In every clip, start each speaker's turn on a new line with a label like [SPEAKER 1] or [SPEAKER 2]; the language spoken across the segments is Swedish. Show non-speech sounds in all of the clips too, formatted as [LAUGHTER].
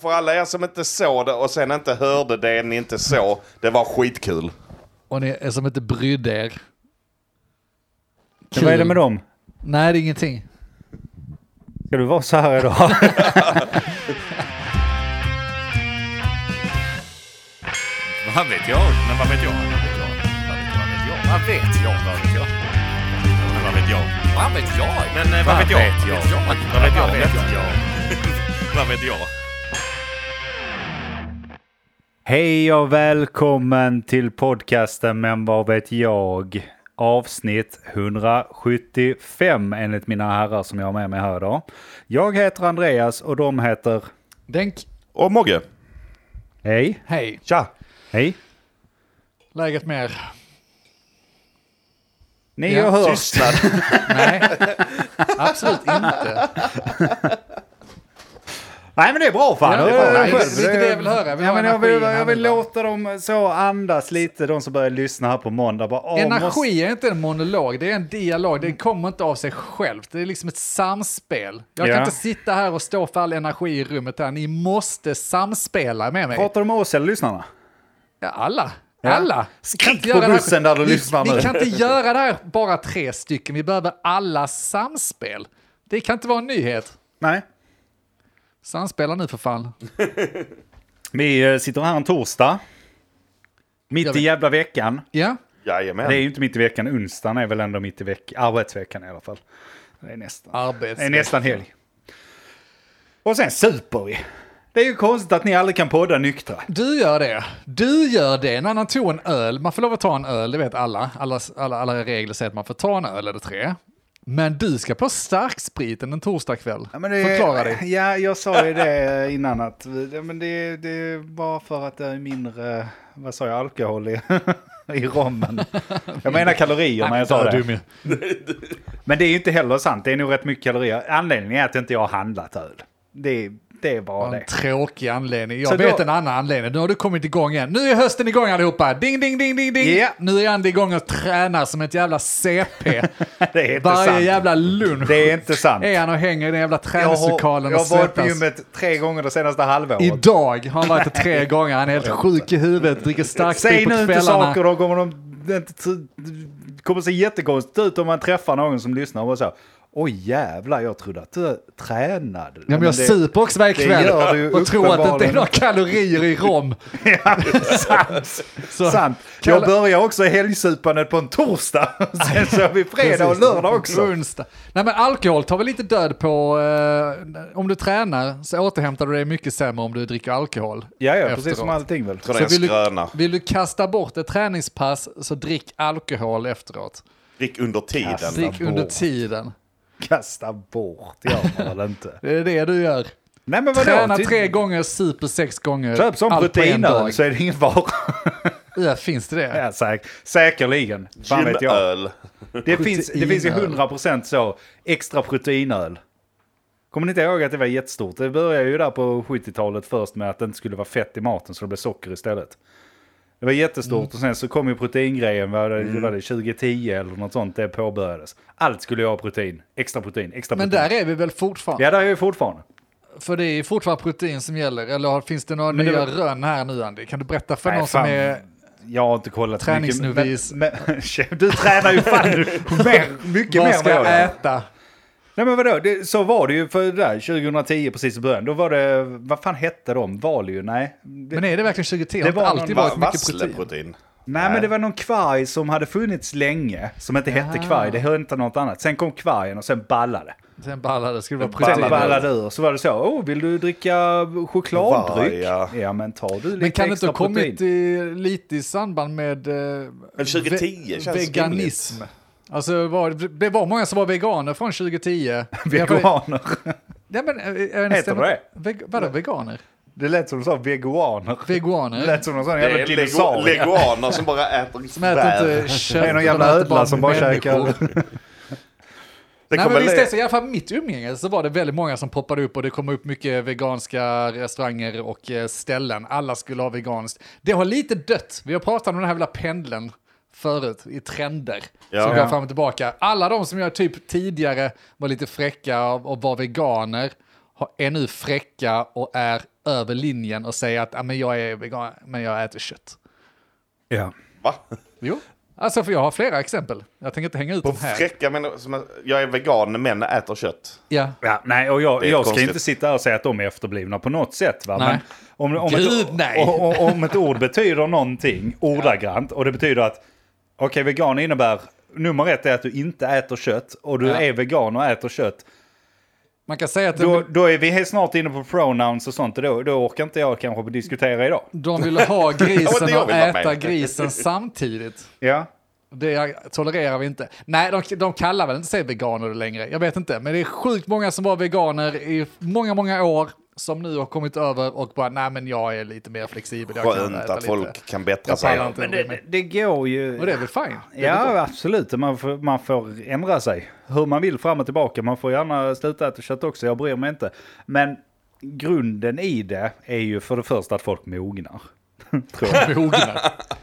[SPEAKER 1] För äh, alla er som inte såg det och sen inte hörde det ni inte såg, det var skitkul.
[SPEAKER 2] Och ni är som inte brydde er.
[SPEAKER 3] Vad är det med dem?
[SPEAKER 2] Nej, det är ingenting.
[SPEAKER 3] Ska du vara så här idag?
[SPEAKER 4] Vad vet jag? Men vad vet jag? Vad vet jag? Vad vet jag? Vad vet jag? Men vad vet jag? Vad vet jag? Men eh, vad vet jag? Vad vet jag? Vad vet jag? Vad vet jag?
[SPEAKER 3] [LAUGHS] Hej och välkommen till podcasten Men vad vet jag? Avsnitt 175 enligt mina herrar som jag har med mig här idag. Jag heter Andreas och de heter...
[SPEAKER 2] Denk,
[SPEAKER 1] Och Mogge.
[SPEAKER 3] Hej.
[SPEAKER 2] hej.
[SPEAKER 1] Tja.
[SPEAKER 3] Hej.
[SPEAKER 2] Läget med er?
[SPEAKER 3] Ni
[SPEAKER 2] Ja.
[SPEAKER 3] har hört.
[SPEAKER 1] Tystnad.
[SPEAKER 2] Nej, [LAUGHS] absolut inte.
[SPEAKER 3] Nej men det är bra fan.
[SPEAKER 2] Ja, det är
[SPEAKER 3] Jag
[SPEAKER 2] bra.
[SPEAKER 3] är
[SPEAKER 2] Nej,
[SPEAKER 3] själv.
[SPEAKER 2] det är lite det jag vill höra. Jag vill
[SPEAKER 3] ja,
[SPEAKER 2] ha
[SPEAKER 3] men jag, vill,
[SPEAKER 2] energin här
[SPEAKER 3] jag vill
[SPEAKER 2] nu, va?
[SPEAKER 3] låta dem eh, så andas lite, de som börjar lyssna här på måndag. Bara, åh, måste-
[SPEAKER 2] Energi är inte en monolog, det är en dialog. Det kommer inte av sig självt. Det är liksom ett samspel. Jag
[SPEAKER 3] Ja.
[SPEAKER 2] kan inte sitta här och stå för all energi i rummet här. Ni måste samspela med mig.
[SPEAKER 3] Pratar du med oss eller lyssnarna?
[SPEAKER 2] Ja, alla.
[SPEAKER 3] Ja.
[SPEAKER 2] Alla. Vi kan
[SPEAKER 3] Skrik
[SPEAKER 2] inte
[SPEAKER 3] på
[SPEAKER 2] göra det här-
[SPEAKER 3] bussen där du
[SPEAKER 2] vi,
[SPEAKER 3] lyssnar nu.
[SPEAKER 2] Vi kan inte göra det här bara tre stycken. Vi behöver alla samspel. Det kan inte vara en nyhet.
[SPEAKER 3] Nej.
[SPEAKER 2] Samspela nu för fan.
[SPEAKER 3] Vi eh, sitter här en torsdag.
[SPEAKER 2] Jag
[SPEAKER 3] Mitt i
[SPEAKER 2] vet.
[SPEAKER 3] jävla veckan.
[SPEAKER 2] Ja,
[SPEAKER 1] Jajamän.
[SPEAKER 3] Det är ju inte mitt i veckan, onsdagen är väl ändå mitt i veckan, arbetsveckan i alla fall. Det är nästan, det
[SPEAKER 2] arbets...
[SPEAKER 3] är nästan helg. Och sen super vi. Det är ju konstigt att ni aldrig kan podda nyktra.
[SPEAKER 2] Du gör det. Du gör det. En annan tog en öl. Man får lov att ta en öl, det vet alla. Alla, alla, alla regler säger att man får ta en öl eller tre. Men du ska på starkspriten en torsdagkväll. Förklara dig.
[SPEAKER 3] Ja, jag sa ju det eh, innan att ja, men det, det är bara för att det är mindre, vad sa jag, alkohol i, [LAUGHS] i [LAUGHS] rommen. Jag menar kalorier när jag sa det.
[SPEAKER 2] Dum ju.
[SPEAKER 3] Men det är ju inte heller sant, det är nog rätt mycket kalorier. Anledningen är att inte jag har handlat öl. Det, det är bara det. [LAUGHS]
[SPEAKER 2] En tråkig anledning. Jag
[SPEAKER 3] Så
[SPEAKER 2] vet
[SPEAKER 3] då-
[SPEAKER 2] en annan anledning. Nu har du kommit igång igen. Nu är hösten igång allihopa. Ding, ding, ding, ding, ding.
[SPEAKER 3] Ja.
[SPEAKER 2] Nu är Andy igång och tränar som ett jävla CP.
[SPEAKER 3] Det är [LAUGHS] inte
[SPEAKER 2] Varje
[SPEAKER 3] sant.
[SPEAKER 2] jävla lunch
[SPEAKER 3] Det är inte sant.
[SPEAKER 2] är han och hänger i den jävla
[SPEAKER 3] Jag har,
[SPEAKER 2] träningslokalen
[SPEAKER 3] jag
[SPEAKER 2] och
[SPEAKER 3] har varit på
[SPEAKER 2] svettas.
[SPEAKER 3] gymmet tre gånger det senaste halvåret.
[SPEAKER 2] Idag har han varit det tre gånger. Han är helt sjuk i huvudet, dricker
[SPEAKER 3] Säg
[SPEAKER 2] starksprit på
[SPEAKER 3] nu inte
[SPEAKER 2] kvällarna.
[SPEAKER 3] saker, då kommer de inte t- kommer se jättekonstigt ut om man träffar någon som lyssnar och så. Oj jävlar, jag trodde att du tränade.
[SPEAKER 2] Ja, men jag
[SPEAKER 3] det-
[SPEAKER 2] super också varje
[SPEAKER 3] det gör du
[SPEAKER 2] kväll och tror att det inte är
[SPEAKER 3] uppenbarligen.
[SPEAKER 2] några kalorier i rom.
[SPEAKER 3] Ja, sant.
[SPEAKER 2] Så-
[SPEAKER 3] sant.
[SPEAKER 2] Kalle-
[SPEAKER 3] Jag börjar också helgsupandet på en torsdag. [LAUGHS] Sen så är vi fredag och
[SPEAKER 2] Precis.
[SPEAKER 3] lördag också.
[SPEAKER 2] Onsdag. Nej men alkohol tar väl lite död på, eh, om du tränar så återhämtar du dig mycket sämre om du dricker alkohol.
[SPEAKER 3] Ja, ja,
[SPEAKER 2] efteråt.
[SPEAKER 3] precis som allting väl.
[SPEAKER 1] Tror det är en
[SPEAKER 2] vill, du,
[SPEAKER 1] skröna.
[SPEAKER 2] vill du kasta bort ett träningspass så drick alkohol efteråt.
[SPEAKER 1] Drick under tiden.
[SPEAKER 3] Kasta.
[SPEAKER 2] Drick under
[SPEAKER 3] bort.
[SPEAKER 2] tiden.
[SPEAKER 3] Kasta bort, gör man väl inte.
[SPEAKER 2] Det är det du gör.
[SPEAKER 3] Nej men vadå?
[SPEAKER 2] Träna
[SPEAKER 3] Ty-
[SPEAKER 2] tre gånger, super sex gånger.
[SPEAKER 3] Köp som
[SPEAKER 2] allt på en
[SPEAKER 3] proteinöl
[SPEAKER 2] dag.
[SPEAKER 3] så är det ingen vara.
[SPEAKER 2] Ja, finns det det?
[SPEAKER 3] Ja, säk- säkerligen. Fan vet jag.
[SPEAKER 1] Gymöl.
[SPEAKER 3] Det finns, det finns ju 100% så, extra proteinöl. Kommer ni inte ihåg att det var jättestort? Det började ju där på 70-talet först med att det inte skulle vara fett i maten så det blev socker istället. Det var jättestort och sen så kom ju proteingrejen, var det, var det 2010 eller något sånt, det påbörjades. Allt skulle ju ha protein, extra protein, extra
[SPEAKER 2] Men
[SPEAKER 3] protein.
[SPEAKER 2] där är vi väl fortfarande?
[SPEAKER 3] Ja, där är ju fortfarande.
[SPEAKER 2] För det är fortfarande protein som gäller. Eller finns det några
[SPEAKER 3] Men det
[SPEAKER 2] nya
[SPEAKER 3] var-
[SPEAKER 2] rön här nu Andy? Kan du berätta för
[SPEAKER 3] Nej,
[SPEAKER 2] någon
[SPEAKER 3] fan.
[SPEAKER 2] som är
[SPEAKER 3] Jag har inte kollat så
[SPEAKER 2] Träningsnovis.
[SPEAKER 3] Men, men, [LAUGHS] du tränar
[SPEAKER 2] [LAUGHS]
[SPEAKER 3] ju fan mer, mycket mer
[SPEAKER 2] Vad
[SPEAKER 3] än
[SPEAKER 2] ska
[SPEAKER 3] vad jag
[SPEAKER 2] jag
[SPEAKER 3] gör.
[SPEAKER 2] äta?
[SPEAKER 3] Nej men vadå, det, så var det ju för det där 2010 precis i början. Då var det, vad fan hette de? Valio? Nej. Det,
[SPEAKER 2] Men är det verkligen 2010? Det
[SPEAKER 3] Det
[SPEAKER 2] har
[SPEAKER 3] var
[SPEAKER 2] inte alltid
[SPEAKER 3] någon
[SPEAKER 2] varit mycket protein.
[SPEAKER 1] Vassleprotein.
[SPEAKER 3] nej men det var någon kvarg som hade funnits länge. Som inte hette
[SPEAKER 2] Ah.
[SPEAKER 3] kvarg, det hette något annat. Sen kom kvargen och sen ballade.
[SPEAKER 2] Sen ballade, skulle det vara
[SPEAKER 3] Sen
[SPEAKER 2] protein.
[SPEAKER 3] ballade ur. Så var det så, oh vill du dricka
[SPEAKER 1] Varg,
[SPEAKER 3] chokladdryck?
[SPEAKER 1] ja.
[SPEAKER 3] ja men tar du lite
[SPEAKER 2] Men kan det inte
[SPEAKER 3] extra
[SPEAKER 2] ha kommit
[SPEAKER 3] protein?
[SPEAKER 2] i, lite i samband med eh,
[SPEAKER 1] 2010
[SPEAKER 2] ve-
[SPEAKER 1] känns
[SPEAKER 2] veganism? Alltså var, det var många som var veganer från
[SPEAKER 3] [LAUGHS]
[SPEAKER 2] 2010.
[SPEAKER 3] Veganer.
[SPEAKER 2] Ja, men, eh, jag
[SPEAKER 3] Heter det?
[SPEAKER 2] Veg, vadå veganer?
[SPEAKER 3] [LAUGHS] Det lät som du sa veganer. Det
[SPEAKER 2] Veganer?
[SPEAKER 3] lät som någon sån
[SPEAKER 1] Det
[SPEAKER 3] jävla
[SPEAKER 1] är lego-
[SPEAKER 3] dinosaurie.
[SPEAKER 1] leguaner som bara äter
[SPEAKER 2] De äter
[SPEAKER 3] [LAUGHS]
[SPEAKER 2] inte
[SPEAKER 1] bär.
[SPEAKER 2] kött.
[SPEAKER 3] Det är någon
[SPEAKER 2] de
[SPEAKER 3] jävla
[SPEAKER 2] äter
[SPEAKER 3] ödla
[SPEAKER 2] bara
[SPEAKER 3] som bara
[SPEAKER 2] människor.
[SPEAKER 3] käkar. Det
[SPEAKER 2] Nej
[SPEAKER 3] kommer
[SPEAKER 2] men visst
[SPEAKER 3] le-
[SPEAKER 2] är det så, i alla fall mitt umgänge så var det väldigt många som poppade upp och det kom upp mycket veganska restauranger och eh, ställen. Alla skulle ha veganskt. Det har lite dött. Vi har pratat om den här jävla pendeln förut i trender
[SPEAKER 1] Ja.
[SPEAKER 2] som går
[SPEAKER 1] Ja.
[SPEAKER 2] fram och tillbaka. Alla de som jag typ tidigare var lite fräcka och och var veganer har- är nu fräcka och är över linjen och säger att "Ah, men jag är vegan, men jag äter kött.
[SPEAKER 3] Ja.
[SPEAKER 1] Va?
[SPEAKER 2] Jo, alltså för jag har flera exempel. Jag tänker inte hänga ut
[SPEAKER 1] På
[SPEAKER 2] dem här.
[SPEAKER 1] fräcka människor som är- jag är vegan men äter kött.
[SPEAKER 2] Ja.
[SPEAKER 3] Ja, nej, och jag,
[SPEAKER 1] är
[SPEAKER 3] jag ska
[SPEAKER 1] konstigt.
[SPEAKER 3] inte sitta här och säga att de är efterblivna på något sätt. Va?
[SPEAKER 2] Nej.
[SPEAKER 3] Men om, om,
[SPEAKER 2] Gud,
[SPEAKER 3] ett,
[SPEAKER 2] nej.
[SPEAKER 3] o- o- om ett ord betyder någonting ordagrant och det betyder att okej, vegan innebär nummer ett är att du inte äter kött och du
[SPEAKER 2] Ja.
[SPEAKER 3] är vegan och äter kött.
[SPEAKER 2] Man kan säga att
[SPEAKER 3] Då,
[SPEAKER 2] de,
[SPEAKER 3] då är vi helt snart inne på pronouns och sånt och då, då orkar inte jag kanske diskutera idag.
[SPEAKER 2] de ville ha
[SPEAKER 1] Ja, men det
[SPEAKER 2] grisen
[SPEAKER 1] gör
[SPEAKER 2] och
[SPEAKER 1] vi bara med.
[SPEAKER 2] äta grisen samtidigt.
[SPEAKER 3] Ja,
[SPEAKER 2] Det tolererar vi inte. Nej, de, de kallar väl inte sig veganer längre. Jag vet inte. Men det är sjukt många som var veganer i många, många år som nu har kommit över och bara, nej men jag är lite mer flexibel. Jag kan
[SPEAKER 1] Skönt
[SPEAKER 2] äta
[SPEAKER 1] att
[SPEAKER 2] lite."
[SPEAKER 1] folk kan bättra
[SPEAKER 2] Jag pallar
[SPEAKER 1] sig.
[SPEAKER 2] inte
[SPEAKER 3] men
[SPEAKER 2] men
[SPEAKER 3] det, det- det går ju...
[SPEAKER 2] Och det är väl fine. Det är väl
[SPEAKER 3] Ja,
[SPEAKER 2] bra.
[SPEAKER 3] absolut. Man får, man får ändra sig hur man vill fram och tillbaka. Man får gärna sluta äta kött också, jag bryr mig inte. Men grunden i det är ju för det första att folk mognar. [LAUGHS] tror jag.
[SPEAKER 2] Mogna.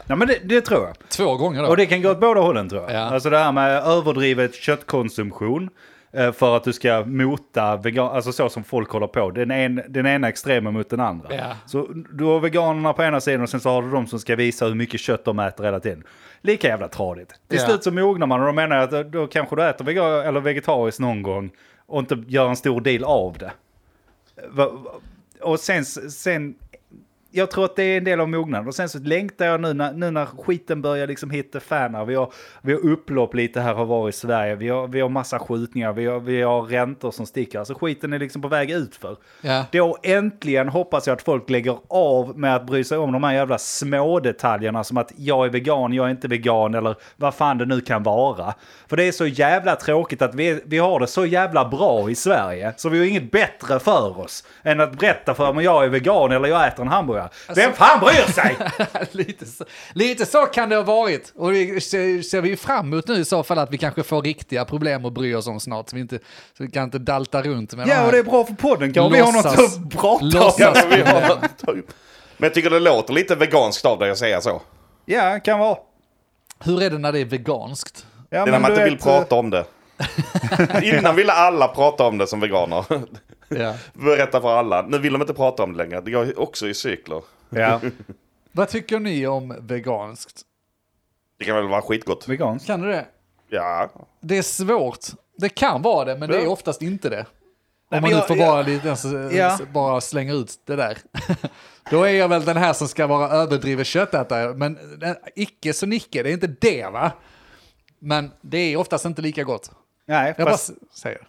[SPEAKER 3] Nej, men det, det tror jag.
[SPEAKER 2] Två gånger då.
[SPEAKER 3] Och det kan gå åt båda hållen tror jag.
[SPEAKER 2] Ja.
[SPEAKER 3] Alltså det här med överdrivet köttkonsumtion eh, för att du ska mota vegan, alltså så som folk håller på. Den, en, den ena extremen mot den andra.
[SPEAKER 2] Ja.
[SPEAKER 3] Så du har veganerna på ena sidan och sen så har du de som ska visa hur mycket kött de äter hela tiden. Lika jävla tradigt. Till
[SPEAKER 2] Ja.
[SPEAKER 3] slut så mognar man och då menar jag att då- då kanske du äter vegan eller vegetariskt någon gång och inte gör en stor del av det. Va- va- Och sen, sen jag tror att det är en del av mognaden. Och sen så längtar jag nu när, nu när skiten börjar liksom hitta fan här. Vi har, vi har upplopp lite här och var i Sverige. Vi har, vi har massa skjutningar. Vi har, vi har räntor som sticker. Alltså skiten är liksom på väg utför.
[SPEAKER 2] Ja. [LAUGHS]
[SPEAKER 3] Då äntligen hoppas jag att folk lägger av med att bry sig om de här jävla små detaljerna som att jag är vegan, jag är inte vegan eller vad fan det nu kan vara. För det är så jävla tråkigt att vi, vi har det så jävla bra i Sverige så vi har inget bättre för oss än att berätta för dem att jag är vegan eller jag äter en hamburgare.
[SPEAKER 2] Alltså-
[SPEAKER 3] Vem fan bryr sig?
[SPEAKER 2] [LAUGHS] lite, så, lite så kan det ha varit. Och det ser, ser vi ju fram emot nu i så fall att vi kanske får riktiga problem att bry oss om snart. Så vi, inte, så vi kan inte dalta runt med de
[SPEAKER 3] Ja,
[SPEAKER 2] här-
[SPEAKER 3] och det är bra för podden kanske. Vi har något
[SPEAKER 2] Låtsas-
[SPEAKER 3] att prata om.
[SPEAKER 2] låtsas-
[SPEAKER 1] Ja, men vi har- Typ. Men jag tycker det låter lite veganskt av dig att säga så.
[SPEAKER 3] Ja, kan vara.
[SPEAKER 2] Hur är det när det är veganskt?
[SPEAKER 3] Ja,
[SPEAKER 1] Det är när
[SPEAKER 3] men
[SPEAKER 1] man
[SPEAKER 3] du
[SPEAKER 1] inte vill
[SPEAKER 3] vet,
[SPEAKER 1] prata om det.
[SPEAKER 2] eh. [LAUGHS]
[SPEAKER 1] Innan ville alla prata om det som veganer. [LAUGHS]
[SPEAKER 2] Ja.
[SPEAKER 1] Berätta för alla. Nu vill de inte prata om det längre. Det går också i cykler.
[SPEAKER 3] Ja,
[SPEAKER 2] Vad tycker ni om veganskt?
[SPEAKER 1] Det kan väl vara skitgott?
[SPEAKER 3] veganskt.
[SPEAKER 2] Kan du det?
[SPEAKER 1] Ja.
[SPEAKER 2] Det är svårt. Det kan vara det, men det är oftast inte det. Om man
[SPEAKER 3] men
[SPEAKER 2] nu
[SPEAKER 3] jag-
[SPEAKER 2] får
[SPEAKER 3] jag-
[SPEAKER 2] bara, lite, ens-
[SPEAKER 3] Ja.
[SPEAKER 2] bara slänga ut det där. [LAUGHS] Då är jag väl den här som ska vara överdriven köttätare, men eh, icke så nicke, det är inte det va? Men det är oftast inte lika gott.
[SPEAKER 3] Nej,
[SPEAKER 2] Jag
[SPEAKER 3] fast...
[SPEAKER 2] bara s- säger.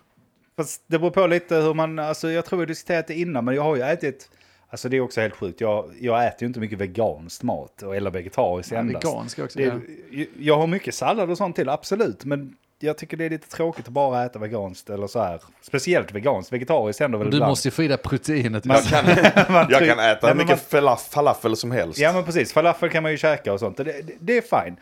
[SPEAKER 3] Fast det beror på lite hur man, alltså jag tror vi diskuterat det innan, men jag har ju ätit, alltså det är också helt sjukt, jag, jag äter ju inte mycket veganskt mat, och- eller vegetariskt endast.
[SPEAKER 2] vegansk också,
[SPEAKER 3] det,
[SPEAKER 2] ja.
[SPEAKER 3] jag, jag har mycket sallad och sånt till, absolut, men jag tycker det är lite tråkigt att bara äta veganskt eller så här. Speciellt veganskt, vegetariskt händer väl
[SPEAKER 2] Du
[SPEAKER 3] ibland.
[SPEAKER 2] måste ju få i dig proteinet.
[SPEAKER 1] Jag kan, jag
[SPEAKER 2] typ-
[SPEAKER 3] tryck-
[SPEAKER 1] kan äta
[SPEAKER 3] Nej,
[SPEAKER 1] hur
[SPEAKER 3] men
[SPEAKER 1] mycket falaf- falafel som helst.
[SPEAKER 3] Ja men precis, falafel kan man ju käka och sånt, det, det, det är fine.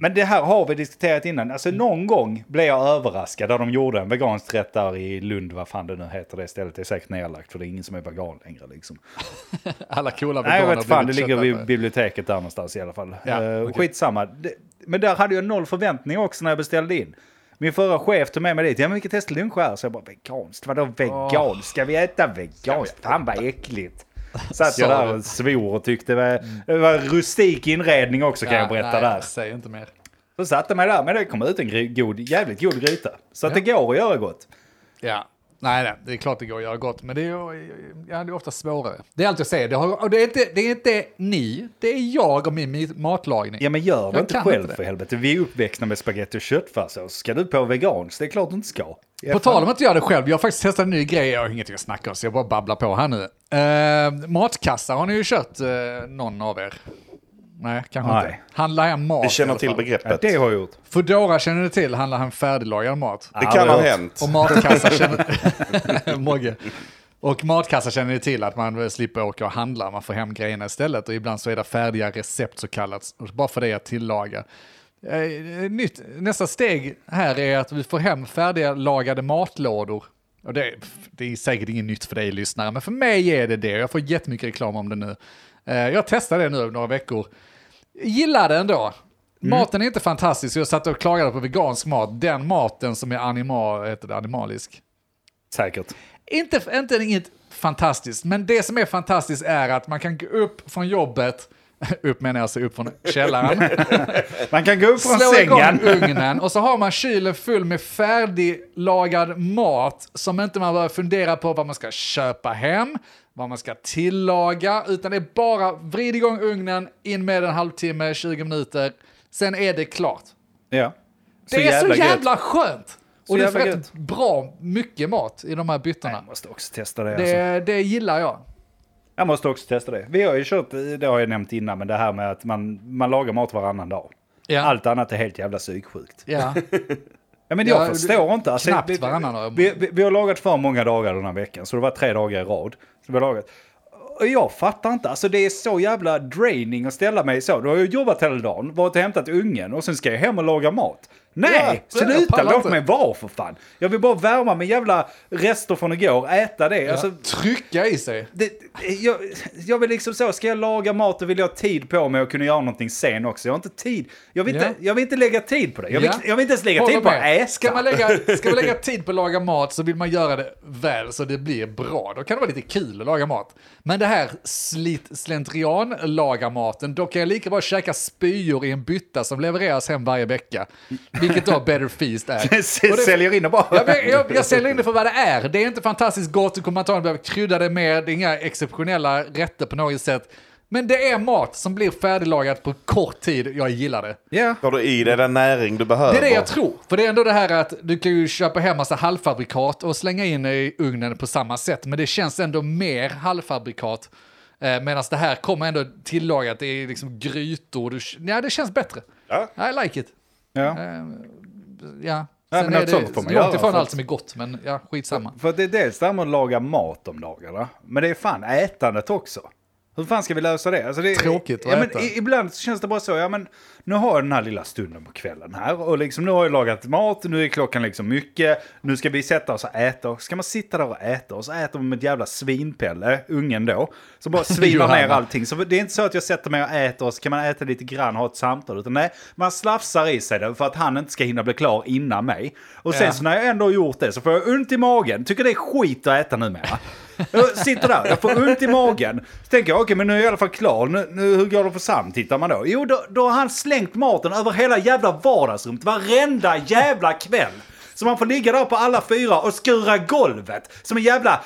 [SPEAKER 3] Men det här har vi diskuterat innan. Alltså någon gång blev jag överraskad där de gjorde en vegansk rätt där i Lund, vad fan det nu heter det stället. Det är säkert nedlagt för det är ingen som är vegan längre liksom.
[SPEAKER 2] [LAUGHS] Alla coola
[SPEAKER 3] Nej,
[SPEAKER 2] veganer
[SPEAKER 3] jag vet fan, det
[SPEAKER 2] blivit
[SPEAKER 3] ligger vid
[SPEAKER 2] köttätare.
[SPEAKER 3] biblioteket där någonstans i alla fall.
[SPEAKER 2] Ja,
[SPEAKER 3] Eh,
[SPEAKER 2] okej.
[SPEAKER 3] Skitsamma. Det- Men där hade jag noll förväntningar också när jag beställde in. Min förra chef tog med mig dit, ja men vi kan testa lunch här. Så jag bara, veganskt, vadå veganskt? Ska vi äta veganskt? Fan vad äckligt. Satt jag
[SPEAKER 2] Sa
[SPEAKER 3] där
[SPEAKER 2] du?
[SPEAKER 3] och svor och tyckte det var, det var rustik inredning också kan jag
[SPEAKER 2] Ja,
[SPEAKER 3] berätta
[SPEAKER 2] nej,
[SPEAKER 3] där.
[SPEAKER 2] Säg inte mer.
[SPEAKER 3] Så satte jag mig där, men det kom ut en gry- god, jävligt god gryta. Så att det går att göra gott.
[SPEAKER 2] Ja. Nej, nej, det är klart det går att göra gott, men det är ju ja, det är ofta svårare. Det är allt jag säger, det, har, och det, är inte, det är inte ni, det är jag och min mit- matlagning.
[SPEAKER 3] Ja men gör det
[SPEAKER 2] Jag
[SPEAKER 3] inte
[SPEAKER 2] kan
[SPEAKER 3] själv
[SPEAKER 2] inte det.
[SPEAKER 3] för helvete. Vi är uppväxta med spagetti och köttfärssås. Ska du på veganskt? Det är klart du inte ska.
[SPEAKER 2] På tal om att göra det själv, jag har faktiskt testat en ny grej, jag har ingenting att snacka om så jag bara babblar på här nu. Eh, matkassar har ni ju kört, eh, någon av er? Nej, kanske
[SPEAKER 3] Nej.
[SPEAKER 2] inte. Handlar hem mat
[SPEAKER 1] Vi
[SPEAKER 2] i
[SPEAKER 1] känner
[SPEAKER 2] alla
[SPEAKER 1] till
[SPEAKER 2] fall.
[SPEAKER 3] Ja,
[SPEAKER 1] begreppet.
[SPEAKER 3] det
[SPEAKER 1] Det
[SPEAKER 3] har jag gjort.
[SPEAKER 2] Foodora känner ni till, handlar hem färdiglagad mat.
[SPEAKER 1] kan ha
[SPEAKER 3] Ja,
[SPEAKER 1] hänt.
[SPEAKER 2] Och matkassar känner... [LAUGHS] Mogge. Och matkassar känner ni till att man slipper åka och handla, man får hem grejerna istället. Och ibland så är det färdiga recept så kallat, och bara för det att tillaga. Eh, Nytt, nästa steg här är att vi får hem färdiga lagade matlådor. Och det, det är säkert inget nytt för dig lyssnare, men för mig är det det. Jag får jättemycket reklam om det nu. Eh, Jag testade det nu över några veckor. Gillar den då. Maten är inte fantastisk, jag satt och klagade på vegansk mat. Den maten som är animal, heter det, animalisk
[SPEAKER 3] Säkert.
[SPEAKER 2] Inte, inte inget fantastiskt, men det som är fantastiskt är att man kan gå upp från jobbet, [LAUGHS] upp menar jag alltså upp från källaren,
[SPEAKER 3] Man kan gå upp från
[SPEAKER 2] slå igång
[SPEAKER 3] sängen.
[SPEAKER 2] ugnen och så har man kylen full med färdiglagad mat som inte man behöver fundera på vad man ska köpa hem, vad man ska tillaga, utan det är bara vrid igång ugnen, in med en halvtimme, 20 minuter, sen är det klart.
[SPEAKER 3] Ja.
[SPEAKER 2] Det är så
[SPEAKER 3] gött.
[SPEAKER 2] jävla skönt! Och det är
[SPEAKER 3] jävla
[SPEAKER 2] rätt
[SPEAKER 3] gött.
[SPEAKER 2] bra mycket mat i de här byttorna.
[SPEAKER 3] Jag måste också testa det. Alltså.
[SPEAKER 2] Det, det gillar jag.
[SPEAKER 3] Jag måste också testa det. Vi har ju kört, det har jag nämnt innan, men det här med att man, man lagar mat varannan dag.
[SPEAKER 2] Ja.
[SPEAKER 3] Allt annat är helt jävla psyksjukt.
[SPEAKER 2] Ja.
[SPEAKER 3] Ja, men
[SPEAKER 2] Ja,
[SPEAKER 3] jag
[SPEAKER 2] det-
[SPEAKER 3] förstår inte. Alltså,
[SPEAKER 2] knappt
[SPEAKER 3] vi,
[SPEAKER 2] varannan dag.
[SPEAKER 3] Vi, vi, vi har lagat för många dagar den här veckan, så det var tre dagar i rad. Så vi har lagat. Och jag fattar inte, alltså det är så jävla draining att ställa mig så. Då har jag jobbat hela dagen, varit och hämtat ungen och sen ska jag hem och laga mat. Nej,
[SPEAKER 2] Ja, jag
[SPEAKER 3] sluta,
[SPEAKER 2] pallar
[SPEAKER 3] låt
[SPEAKER 2] inte.
[SPEAKER 3] mig vara för fan. Jag vill bara värma med jävla rester från igår, äta det. [LAUGHS] Alltså,
[SPEAKER 2] Trycka i sig.
[SPEAKER 3] det, jag, jag vill liksom så, ska jag laga mat och vill jag ha tid på mig och kunna göra någonting sen också. Jag har inte tid. Jag vill, inte,
[SPEAKER 2] Ja.
[SPEAKER 3] jag vill inte lägga tid på det. Jag vill,
[SPEAKER 2] Ja.
[SPEAKER 3] jag vill inte ens lägga
[SPEAKER 2] Håller
[SPEAKER 3] tid på att
[SPEAKER 2] med.
[SPEAKER 3] äta.
[SPEAKER 2] Ska man, lägga, ska man lägga tid på att laga mat så vill man göra det väl så det blir bra. Då kan det vara lite kul att laga mat. Men det här slit, slentrian laga maten, då kan jag lika bra käka spyor i en bytta som levereras hem varje vecka. Vilket då Better Feast
[SPEAKER 3] [LAUGHS]
[SPEAKER 2] är. Och det-
[SPEAKER 3] Säljer in och bara...
[SPEAKER 2] Jag, men- jag, jag säljer in det för vad det är. Det är inte fantastiskt gott, du kommer antagligen behöva krydda det mer, det är inga exceptionella rätter på något sätt. Men det är mat som blir färdiglagat på kort tid, jag gillar det.
[SPEAKER 3] Ja.
[SPEAKER 1] Får du i dig den näring du behöver?
[SPEAKER 2] Det är det jag tror. För det är ändå det här att du kan ju köpa hem massa halvfabrikat och slänga in i ugnen på samma sätt. Men det känns ändå mer halvfabrikat. Eh, Medan det här kommer ändå tillagat, det är liksom grytor. Du, ja, det känns bättre.
[SPEAKER 1] Ja.
[SPEAKER 2] I like it.
[SPEAKER 3] Ja.
[SPEAKER 2] Ja.
[SPEAKER 3] Ja, men
[SPEAKER 2] Sen är
[SPEAKER 3] något
[SPEAKER 2] det
[SPEAKER 3] sånt får man
[SPEAKER 2] långt
[SPEAKER 3] göra,
[SPEAKER 2] ifrån
[SPEAKER 3] för
[SPEAKER 2] allt
[SPEAKER 3] att-
[SPEAKER 2] som är gott, men ja, skitsamma.
[SPEAKER 3] För det är dels det här med att laga mat om dagarna. Men det är fan ätandet också. Hur fan ska vi lösa det? Alltså det är,
[SPEAKER 2] Tråkigt att
[SPEAKER 3] ja, men
[SPEAKER 2] äta.
[SPEAKER 3] i- Ibland så känns det bara så, ja men nu har jag den här lilla stunden på kvällen här och liksom nu har jag lagat mat, nu är klockan liksom mycket, nu ska vi sätta oss och äta. Och Ska man sitta där och äta och så äter man med ett jävla svinpelle, ungen då,
[SPEAKER 2] [LAUGHS]
[SPEAKER 3] som bara svinar ner
[SPEAKER 2] Johanna.
[SPEAKER 3] allting. Så det är inte så att jag sätter mig och äter och så kan man äta lite grann och ha ett samtal, utan nej, man slafsar i sig det för att han inte ska hinna bli klar innan mig. Och sen
[SPEAKER 2] Ja.
[SPEAKER 3] så när jag ändå har gjort det så får jag ont i magen. Tycker det är skit att äta numera. Jag sitter där, jag får ont i magen. Så tänker jag, okej men nu är jag i alla fall klar. Nu, nu, hur går det för Sam, tittar man då? Jo, då, då har han slängt maten över hela jävla vardagsrummet. Varenda jävla kväll. Så man får ligga där på alla fyra och skura golvet. Som en jävla,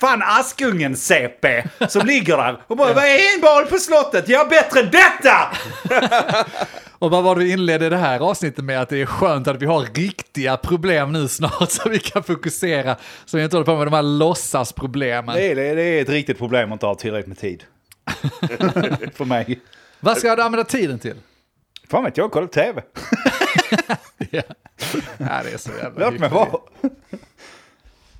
[SPEAKER 3] fan Askungen-CP. Som ligger där och bara, vad är en boll på slottet? Jag är bättre än detta!
[SPEAKER 2] Och vad var du inledde det här avsnittet med? Att det är skönt att vi har riktiga problem nu snart [LAUGHS] så vi kan fokusera. Så vi inte håller på med de här låtsasproblemen.
[SPEAKER 3] Det är, det är ett riktigt problem att inte ha tillräckligt med [LAUGHS] tid. för mig.
[SPEAKER 2] Vad ska du använda tiden till?
[SPEAKER 3] Fan vet jag, kolla [LAUGHS] tv.
[SPEAKER 2] Ja. ja, det är så jävla
[SPEAKER 3] Låt mig
[SPEAKER 2] hyckleri.
[SPEAKER 3] vara.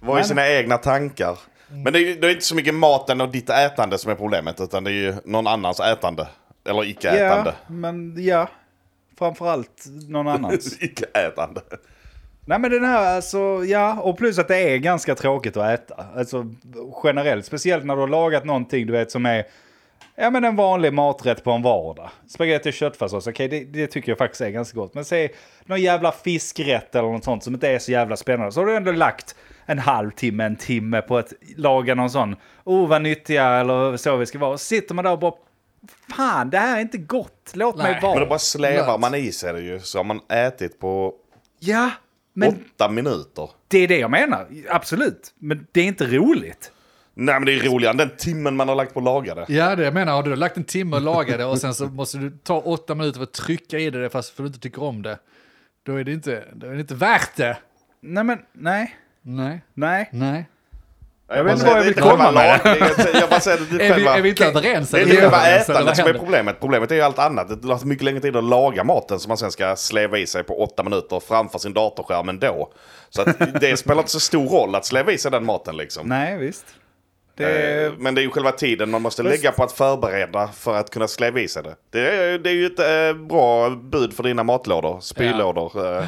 [SPEAKER 1] Var i sina egna tankar. Mm. Men det är, ju- det är inte så mycket maten och ditt ätande som är problemet, utan det är ju någon annans ätande. Eller icke-ätande.
[SPEAKER 3] Ja, men ja. Framförallt någon annans.
[SPEAKER 1] [LAUGHS] icke-ätande.
[SPEAKER 3] Nej men den här, alltså ja. Och plus att det är ganska tråkigt att äta. Alltså generellt, speciellt när du har lagat någonting du vet som är Ja men en vanlig maträtt på en vardag. Spagetti och köttfärssås, okej det, det tycker jag faktiskt är ganska gott. Men säg någon jävla fiskrätt eller något sånt som inte är så jävla spännande. Så har du ändå lagt en halvtimme, en timme på att laga någon sån. Oh vad nyttiga eller så vi ska vara. Och sitter man där och bara Fan det här är inte gott, låt mig
[SPEAKER 2] Nej.
[SPEAKER 3] vara.
[SPEAKER 1] Men då bara slevar
[SPEAKER 2] Lönt.
[SPEAKER 1] man i sig det ju, så har man ätit på
[SPEAKER 3] Ja, men
[SPEAKER 1] åtta minuter.
[SPEAKER 3] Det är det jag menar, absolut. Men det är inte roligt.
[SPEAKER 1] Nej men det är roligare än den timmen man har lagt på att laga det.
[SPEAKER 2] Ja, det jag menar. Har du lagt en timme och lagat det och sen så måste du ta åtta minuter för att trycka i det fast för att du inte tycker om det. Då är det inte, då är det inte värt det.
[SPEAKER 3] Nej men, nej,
[SPEAKER 2] Nej,
[SPEAKER 3] nej.
[SPEAKER 2] nej.
[SPEAKER 1] Jag
[SPEAKER 3] vet inte vad jag vill komma med.
[SPEAKER 1] Jag bara säger det
[SPEAKER 3] [LAUGHS]
[SPEAKER 1] till
[SPEAKER 2] Är vi,
[SPEAKER 1] själva...
[SPEAKER 2] är vi inte överens?
[SPEAKER 1] Det är
[SPEAKER 2] eller?
[SPEAKER 1] inte själva
[SPEAKER 2] Överens, eller
[SPEAKER 1] ätandet
[SPEAKER 2] vad
[SPEAKER 1] som är
[SPEAKER 2] händer?
[SPEAKER 1] problemet. Problemet är ju allt annat. Det tar mycket längre tid att laga maten som man sen ska sleva i sig på åtta minuter framför sin datorskärm ändå. Så att det spelar inte så stor roll att sleva i sig den maten liksom.
[SPEAKER 3] Nej, visst. Det
[SPEAKER 1] Eh, Men det är ju själva tiden man måste lägga på att förbereda för att kunna sleva i sig det. Det är, det är ju ett eh, bra bud för dina matlådor, spylådor. eh,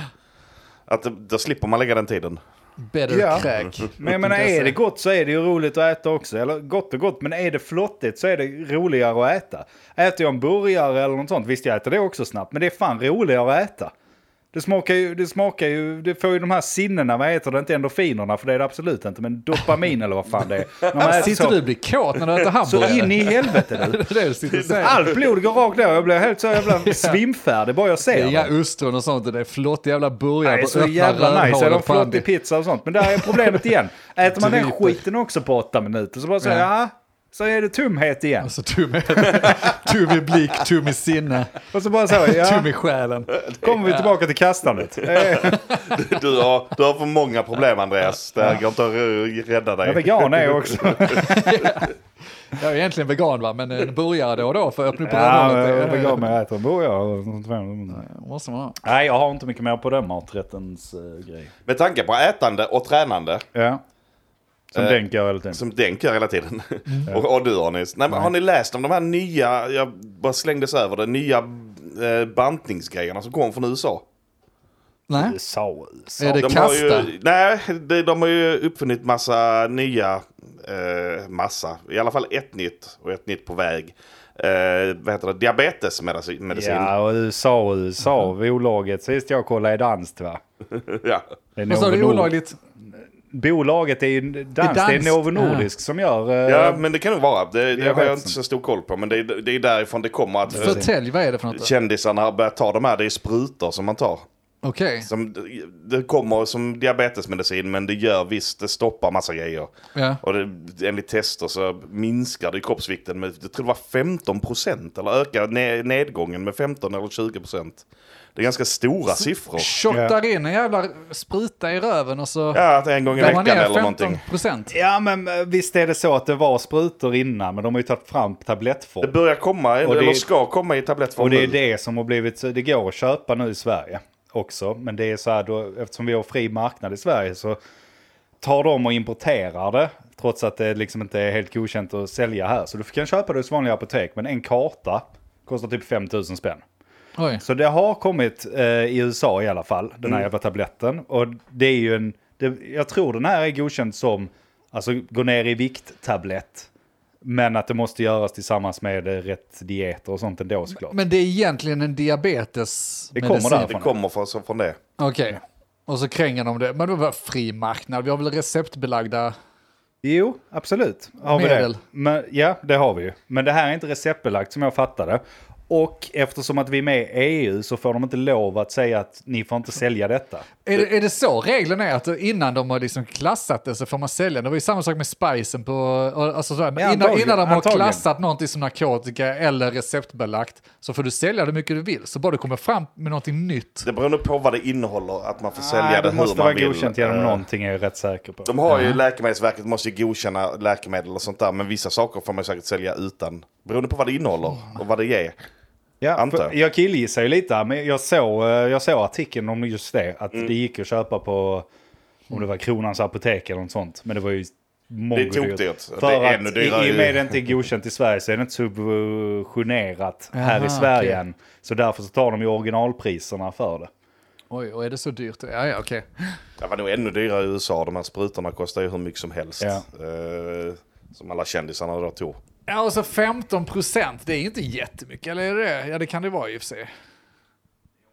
[SPEAKER 1] Att eh, då slipper man lägga den tiden. [LAUGHS]
[SPEAKER 2] Better
[SPEAKER 3] Ja.
[SPEAKER 2] crack.
[SPEAKER 3] Men jag menar,
[SPEAKER 2] alltså.
[SPEAKER 3] är det gott så är det ju roligt att äta också. Eller gott och gott, men är det flottigt så är det roligare att äta. Äter jag en burgare eller något sånt, visst jag äter det också snabbt, men det är fan roligare att äta. Det smakar ju, det smakar ju, det får ju de här sinnena, vad heter det, inte endorfinerna för det är det absolut inte, men dopamin eller vad fan det är. När man äter
[SPEAKER 2] Alltså, Sitter
[SPEAKER 3] så,
[SPEAKER 2] du och blir kåt när du äter hamburgare?
[SPEAKER 3] Alltså, så in i helvete
[SPEAKER 2] [LAUGHS]
[SPEAKER 3] du.
[SPEAKER 2] Det är det du sitter och säger.
[SPEAKER 3] Allt blod går rakt ner, jag blir helt så [LAUGHS] jävla svimfärdig bara jag
[SPEAKER 2] Det
[SPEAKER 3] ser
[SPEAKER 2] är inga
[SPEAKER 3] det.
[SPEAKER 2] ostron och sånt, det är flott jävla burgare.
[SPEAKER 3] Nej,
[SPEAKER 2] på
[SPEAKER 3] så
[SPEAKER 2] öppna
[SPEAKER 3] jävla nice. Är
[SPEAKER 2] rövhålet
[SPEAKER 3] de
[SPEAKER 2] på
[SPEAKER 3] flott
[SPEAKER 2] Andy.
[SPEAKER 3] i pizza och sånt? Men där är problemet [LAUGHS] igen. Äter man den
[SPEAKER 2] Dryper.
[SPEAKER 3] skiten också på åtta minuter så bara så,
[SPEAKER 2] Ja.
[SPEAKER 3] ja, så är det tumhet igen.
[SPEAKER 2] Alltså tum, i- [LAUGHS] tum i blick, tum i sinne,
[SPEAKER 3] Och så bara så, [LAUGHS] ja,
[SPEAKER 2] tum i själen.
[SPEAKER 3] kommer vi tillbaka till [LAUGHS] kastandet.
[SPEAKER 1] Du har, du har för många problem Andreas. Det här går inte att r- rädda dig.
[SPEAKER 3] Jag är vegan är jag [LAUGHS] också.
[SPEAKER 2] Jag är egentligen vegan va,
[SPEAKER 1] [LAUGHS]
[SPEAKER 2] men en burgare då och då för att öppna upp
[SPEAKER 3] Ja,
[SPEAKER 2] rövhålet,
[SPEAKER 3] men
[SPEAKER 2] det- Eh,
[SPEAKER 3] jag är vegan men jag äter en burgare.
[SPEAKER 2] Måste man ha.
[SPEAKER 3] Nej, jag har inte mycket mer på den maträttens eh, grej.
[SPEAKER 1] Med tanke på ätande och tränande.
[SPEAKER 3] Ja. Som
[SPEAKER 1] Eh,
[SPEAKER 3] Denk gör hela tiden.
[SPEAKER 1] Som Denk gör hela tiden. och, och du har nyss. Nej, men har ni läst om de här nya, jag bara slängdes över det, nya eh, bantningsgrejerna som kom från USA?
[SPEAKER 2] Nej,
[SPEAKER 3] USA,
[SPEAKER 2] är det
[SPEAKER 1] De har
[SPEAKER 2] kasta?
[SPEAKER 1] ju, nej, de, de har ju uppfunnit massa nya, eh, massa, i alla fall ett nytt och ett nytt på väg. Eh, vad heter det? Diabetesmedicin. medicin.
[SPEAKER 3] Ja, och USA, USA. Bolaget sist jag kollade är danskt va?
[SPEAKER 1] [LAUGHS] ja.
[SPEAKER 3] Det är
[SPEAKER 2] Vad sa
[SPEAKER 3] Novo
[SPEAKER 2] du,
[SPEAKER 3] Nord-
[SPEAKER 2] olagligt?
[SPEAKER 3] Bolaget är ju danskt. Det
[SPEAKER 2] Det är
[SPEAKER 3] är,
[SPEAKER 2] danskt.
[SPEAKER 3] Novo Nordisk som gör... eh,
[SPEAKER 1] Ja, men det kan det vara. Det, det
[SPEAKER 3] jag
[SPEAKER 1] har jag
[SPEAKER 3] vet
[SPEAKER 1] inte så stor koll på, men det är, det är därifrån det kommer att
[SPEAKER 2] Förtälj, vad är det för något?
[SPEAKER 1] kändisarna har börjat ta de här. Det är sprutor som man tar.
[SPEAKER 2] Okej,
[SPEAKER 1] Som, det kommer som diabetesmedicin, men det gör visst, det stoppar massa grejer.
[SPEAKER 2] ja.
[SPEAKER 1] Och det, enligt tester så minskar det kroppsvikten med, jag tror det var 15 procent, eller ökar ne- nedgången med 15 eller 20 procent. Det är ganska stora siffror.
[SPEAKER 2] Shottar in en jävla spruta i röven och så...
[SPEAKER 1] Ja, att en gång i
[SPEAKER 2] Där man
[SPEAKER 1] veckan
[SPEAKER 2] är
[SPEAKER 1] eller
[SPEAKER 2] 15
[SPEAKER 1] någonting.
[SPEAKER 2] procent.
[SPEAKER 3] ja, men eh, visst är det så att det var sprutor innan, men de har ju tagit fram
[SPEAKER 1] Det
[SPEAKER 3] tablettform.
[SPEAKER 1] börjar komma,
[SPEAKER 3] Och det-
[SPEAKER 1] eller ska komma i
[SPEAKER 3] Och
[SPEAKER 1] tablettform
[SPEAKER 3] det är
[SPEAKER 1] nu.
[SPEAKER 3] det som har blivit... Det går att köpa nu i Sverige också. Men det är så här, då, eftersom vi har fri marknad i Sverige så tar de och importerar det. Trots att det liksom inte är helt godkänt att sälja här. Så du kan köpa det hos vanliga apotek, men en karta kostar typ 5000 spänn.
[SPEAKER 2] Oj.
[SPEAKER 3] Så det har kommit eh, i USA i alla fall, den här
[SPEAKER 1] Mm.
[SPEAKER 3] jävla tabletten. Och det är ju en, det, jag tror den här är godkänd som, alltså gå ner i vikt-tablett. Men att det måste göras tillsammans med eh, rätt dieter och sånt ändå
[SPEAKER 1] Mm.
[SPEAKER 3] såklart.
[SPEAKER 2] Men det är egentligen en diabetes.
[SPEAKER 3] Det kommer
[SPEAKER 2] medicin.
[SPEAKER 1] Det
[SPEAKER 3] därifrån.
[SPEAKER 1] kommer från, från det.
[SPEAKER 2] Okej. Och så kränger de det. Men det var fri marknad. Vi har väl receptbelagda...
[SPEAKER 3] Jo, absolut. Har vi
[SPEAKER 2] Medel.
[SPEAKER 3] det. Men, ja, det har vi ju. Men det här är inte receptbelagt som jag fattade. Och eftersom att vi är med i EU så får de inte lov att säga att ni får inte sälja detta.
[SPEAKER 2] Är det, är det så regeln är? Att innan de har liksom klassat det så får man sälja? Det var ju samma sak med spicen på... Alltså sådär. innan,
[SPEAKER 3] antagligen,
[SPEAKER 2] innan de har
[SPEAKER 3] antagligen.
[SPEAKER 2] klassat någonting som narkotika eller receptbelagt så får du sälja hur mycket du vill. Så bara du kommer fram med någonting nytt.
[SPEAKER 1] Det beror nog på vad det innehåller, att man får sälja
[SPEAKER 3] Nej,
[SPEAKER 1] det
[SPEAKER 3] det
[SPEAKER 1] hur
[SPEAKER 3] måste
[SPEAKER 1] man
[SPEAKER 3] vara
[SPEAKER 1] vill.
[SPEAKER 3] godkänt genom
[SPEAKER 1] Eh,
[SPEAKER 3] någonting är jag rätt säker på.
[SPEAKER 1] De har ju, Läkemedelsverket måste ju godkänna läkemedel och sånt där, men vissa saker får man säkert sälja utan, beroende på vad det innehåller och vad det ger.
[SPEAKER 3] Ja,
[SPEAKER 1] Antar jag.
[SPEAKER 3] för jag killgissar ju lite, här, men jag såg, eh, jag såg artikeln om just det. Att
[SPEAKER 1] Mm.
[SPEAKER 3] det gick att köpa på, om det var Kronans apotek eller något sånt. Men det var ju mongodyrt.
[SPEAKER 1] Det är tokdyrt.
[SPEAKER 3] För
[SPEAKER 1] Det är
[SPEAKER 3] att
[SPEAKER 1] ännu
[SPEAKER 3] i,
[SPEAKER 1] dyrare
[SPEAKER 3] i och med
[SPEAKER 1] ju.
[SPEAKER 3] det inte är godkänt i Sverige så är det inte subventionerat här
[SPEAKER 2] Jaha,
[SPEAKER 3] i Sverige
[SPEAKER 2] okej.
[SPEAKER 3] än. Så därför så tar de ju originalpriserna för det.
[SPEAKER 2] Oj, och är det så dyrt? Ja, ja, okej.
[SPEAKER 1] Det var nog ännu dyrare i USA. De här sprutorna kostar ju hur mycket som helst.
[SPEAKER 3] Ja.
[SPEAKER 1] Eh, som alla kändisarna då tog.
[SPEAKER 2] Ja, och så 15 procent. Det är ju inte jättemycket, eller är det? Ja, det kan det vara i och för sig.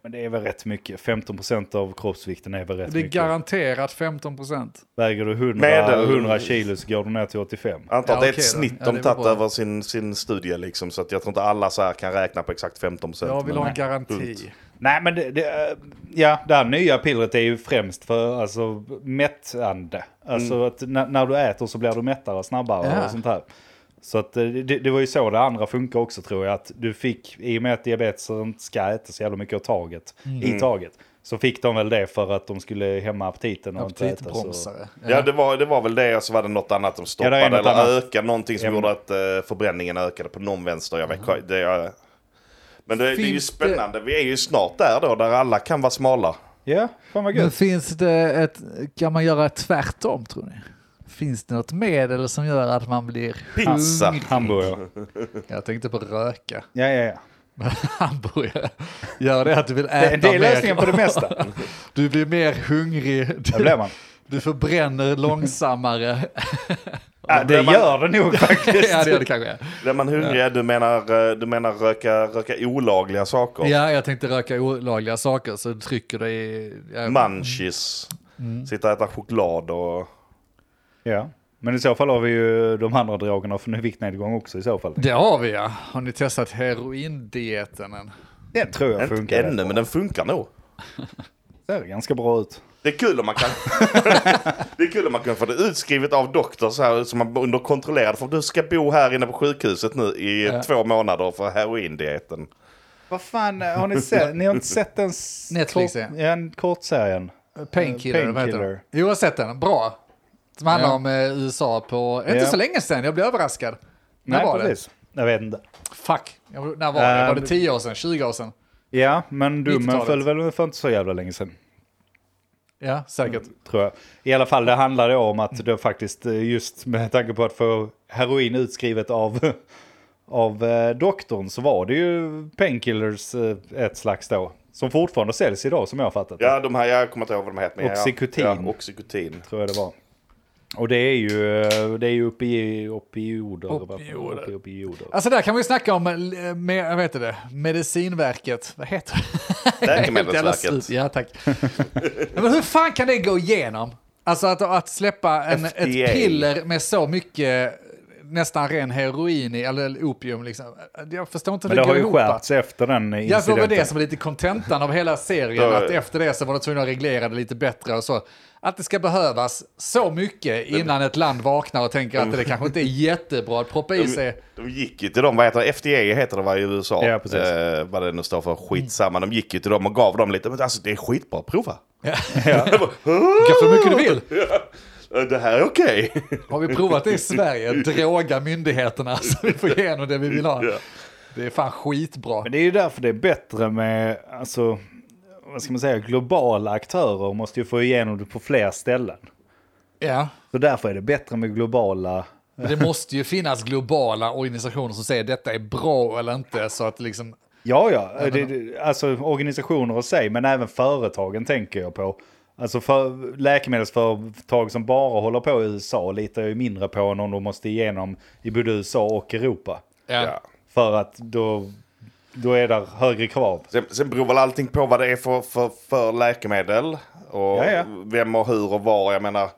[SPEAKER 3] Men det är väl rätt mycket. 15% av kroppsvikten är väl rätt
[SPEAKER 2] Det är
[SPEAKER 3] mycket.
[SPEAKER 2] garanterat 15 procent.
[SPEAKER 3] Väger du 100,
[SPEAKER 1] Medel-
[SPEAKER 3] 100 kilo så går du ner till 85.
[SPEAKER 1] Jag antar
[SPEAKER 2] Ja,
[SPEAKER 1] att det är ett
[SPEAKER 2] okej då.
[SPEAKER 1] snitt
[SPEAKER 2] Ja, det
[SPEAKER 1] de
[SPEAKER 2] är
[SPEAKER 1] tagit
[SPEAKER 2] bra.
[SPEAKER 1] över sin, sin studie liksom. Så att jag tror inte alla så här kan räkna på exakt 15 procent.
[SPEAKER 2] Jag vill ha en
[SPEAKER 1] punkt.
[SPEAKER 2] garanti.
[SPEAKER 3] Nej, men det, det, eh, ja, det här nya pillret är ju främst för alltså, mättande. Alltså att när, när du äter så blir du mättare snabbare
[SPEAKER 2] Mm. Ja.
[SPEAKER 3] och sånt här. Så att, eh, det, det var ju så det andra funkar också tror jag. Att du fick, i och med att diabetes inte ska äta så jävla mycket av taget,
[SPEAKER 2] Mm.
[SPEAKER 3] i taget. Så fick de väl det för att de skulle hämma aptiten och inte äta så.
[SPEAKER 2] Aptitbromsare.
[SPEAKER 1] Ja, det var, det var väl det och så var det något annat de
[SPEAKER 3] Ja, det
[SPEAKER 1] stoppade.
[SPEAKER 3] är något
[SPEAKER 1] eller
[SPEAKER 3] annat.
[SPEAKER 1] ökade någonting som
[SPEAKER 3] Ja, men-
[SPEAKER 1] gjorde att eh, förbränningen ökade på någon vänster. Jag vet, det, jag, men det, det är ju
[SPEAKER 2] Finns det-
[SPEAKER 1] spännande. Vi är ju snart där då, där alla kan vara smala.
[SPEAKER 3] Ja, fan vad
[SPEAKER 2] Men
[SPEAKER 3] gött.
[SPEAKER 2] finns det ett, kan man göra tvärtom tror ni? Finns det något medel som gör att man blir
[SPEAKER 1] Pizza.
[SPEAKER 2] hungrig?
[SPEAKER 3] Hamburgare.
[SPEAKER 2] Jag tänkte på röka. [LAUGHS]
[SPEAKER 3] Ja, ja, ja.
[SPEAKER 2] Hamburgare gör det att du vill
[SPEAKER 3] Det,
[SPEAKER 2] äta
[SPEAKER 3] det är
[SPEAKER 2] mer.
[SPEAKER 3] lösningen på
[SPEAKER 2] [LAUGHS]
[SPEAKER 3] det mesta.
[SPEAKER 2] Du blir mer hungrig.
[SPEAKER 3] Det blir man. [LAUGHS]
[SPEAKER 2] Du förbränner långsammare.
[SPEAKER 3] Ja, det
[SPEAKER 1] Blir man-
[SPEAKER 3] gör det nog faktiskt.
[SPEAKER 2] ja, det gör det kanske.
[SPEAKER 1] Blir man hungrig, du menar, eh, du menar röka, röka olagliga saker?
[SPEAKER 2] Ja, jag tänkte röka olagliga saker så trycker det i... Ja,
[SPEAKER 1] Munchies.
[SPEAKER 3] Mm.
[SPEAKER 1] Sitta och äta choklad och...
[SPEAKER 3] Ja. Men i så fall har vi ju de andra drogerna för nu viktnedgång också i så fall.
[SPEAKER 2] Det har vi ja. Har ni testat heroindieten än?
[SPEAKER 3] Den tror jag
[SPEAKER 1] Mm. Inte
[SPEAKER 3] funkar.
[SPEAKER 1] ännu, men den funkar nog.
[SPEAKER 3] Ser ganska bra ut.
[SPEAKER 1] Det är kul om man kan... det är kul om man kan få det utskrivet av doktor så här som man under kontrollerad. För du ska bo här inne på sjukhuset nu i
[SPEAKER 2] Ja.
[SPEAKER 1] två månader för heroindieten.
[SPEAKER 3] Vad fan har ni sett? Ni har inte sett den s-
[SPEAKER 2] Netflix,
[SPEAKER 3] kort,
[SPEAKER 2] ja.
[SPEAKER 3] ja, en kortserien?
[SPEAKER 2] Eh, Painkiller, vad heter den?
[SPEAKER 3] Eh, Painkiller.
[SPEAKER 2] Jo, jag har sett den. Bra. Som handlar
[SPEAKER 3] Ja.
[SPEAKER 2] om eh, USA på... Inte
[SPEAKER 3] Ja.
[SPEAKER 2] så länge sedan, jag blev överraskad. När
[SPEAKER 3] Nej,
[SPEAKER 2] var
[SPEAKER 3] precis. Jag vet inte.
[SPEAKER 2] det? Fuck. Jag, när var det? Var det
[SPEAKER 3] Ähm,
[SPEAKER 2] 10 år sedan? 20 år sedan?
[SPEAKER 3] Ja, men domen
[SPEAKER 2] 90-talet.
[SPEAKER 3] föll väl för inte så jävla länge sedan.
[SPEAKER 2] Ja, säkert.
[SPEAKER 3] Tror jag. I alla fall, det handlar ju om att det faktiskt, eh, just med tanke på att få heroin utskrivet av, [LAUGHS] av eh, doktorn, så var det ju painkillers eh, ett slags då. Som fortfarande säljs idag, som jag har fattat det.
[SPEAKER 1] Ja, de här, jag kommer inte ihåg vad de heter. men ja.
[SPEAKER 3] Oxycutin.
[SPEAKER 1] Ja, oxycutin.
[SPEAKER 3] Tror jag det var. Och det är ju, eh, det är ju opioider. Opioider. vad fan,
[SPEAKER 2] Opioider.
[SPEAKER 3] opi- opioider.
[SPEAKER 2] Alltså där kan man ju snacka om, eh, med, jag vet inte det, Medicinverket. Vad heter det?
[SPEAKER 1] Läkemedelsverket.
[SPEAKER 2] Helt [LAUGHS] jävla slut. Ja, tack. Men hur fan kan det gå igenom? Alltså att, att släppa en, ett
[SPEAKER 1] FDA.
[SPEAKER 2] piller med så mycket eh, nästan ren heroin i, eller opium liksom. Jag förstår inte hur
[SPEAKER 3] Men det
[SPEAKER 2] det
[SPEAKER 3] har
[SPEAKER 2] går
[SPEAKER 3] ju
[SPEAKER 2] ihop. alltså.
[SPEAKER 3] skärpts efter den
[SPEAKER 2] Ja, så var
[SPEAKER 3] incidenten.
[SPEAKER 2] det som var lite kontentan av hela serien,
[SPEAKER 1] Då-
[SPEAKER 2] att efter det så var de tvungna att reglera det lite bättre och så. Att det ska behövas så mycket innan ett land vaknar och tänker att det kanske inte är jättebra att proppa i
[SPEAKER 1] De,
[SPEAKER 2] sig.
[SPEAKER 1] de gick ju till dem, vad heter det? FDA heter det var i USA.
[SPEAKER 3] Ja, precis.
[SPEAKER 1] Eh, vad det nu står för, skitsamma. De gick ju till dem och gav dem lite, men alltså det är skitbra, prova. [LAUGHS] Det var, "Huh?
[SPEAKER 2] Kan så mycket du vill.
[SPEAKER 1] Det här är okej.
[SPEAKER 2] Har vi provat det i Sverige? Droga myndigheterna så vi får igenom det vi vill ha.
[SPEAKER 1] Ja.
[SPEAKER 2] Det är fan skitbra.
[SPEAKER 3] Men det är ju därför det är bättre med, alltså, vad ska man säga, globala aktörer måste ju få igenom det på fler ställen.
[SPEAKER 2] Ja.
[SPEAKER 3] Så därför är det bättre med globala...
[SPEAKER 2] Men det måste ju finnas globala organisationer som säger detta är bra eller inte. Så att liksom,
[SPEAKER 3] Ja, ja, det, det- alltså organisationer och sig, men även företagen tänker jag på. Alltså för, läkemedelsföretag som bara håller på i USA litar jag ju mindre på än om de måste igenom i både USA och Europa.
[SPEAKER 2] ja.
[SPEAKER 3] För att då, då är det högre krav.
[SPEAKER 1] Sen, sen beror väl allting på vad det är för, för, för läkemedel. Och
[SPEAKER 3] Ja, ja.
[SPEAKER 1] vem och hur och var. Jag menar,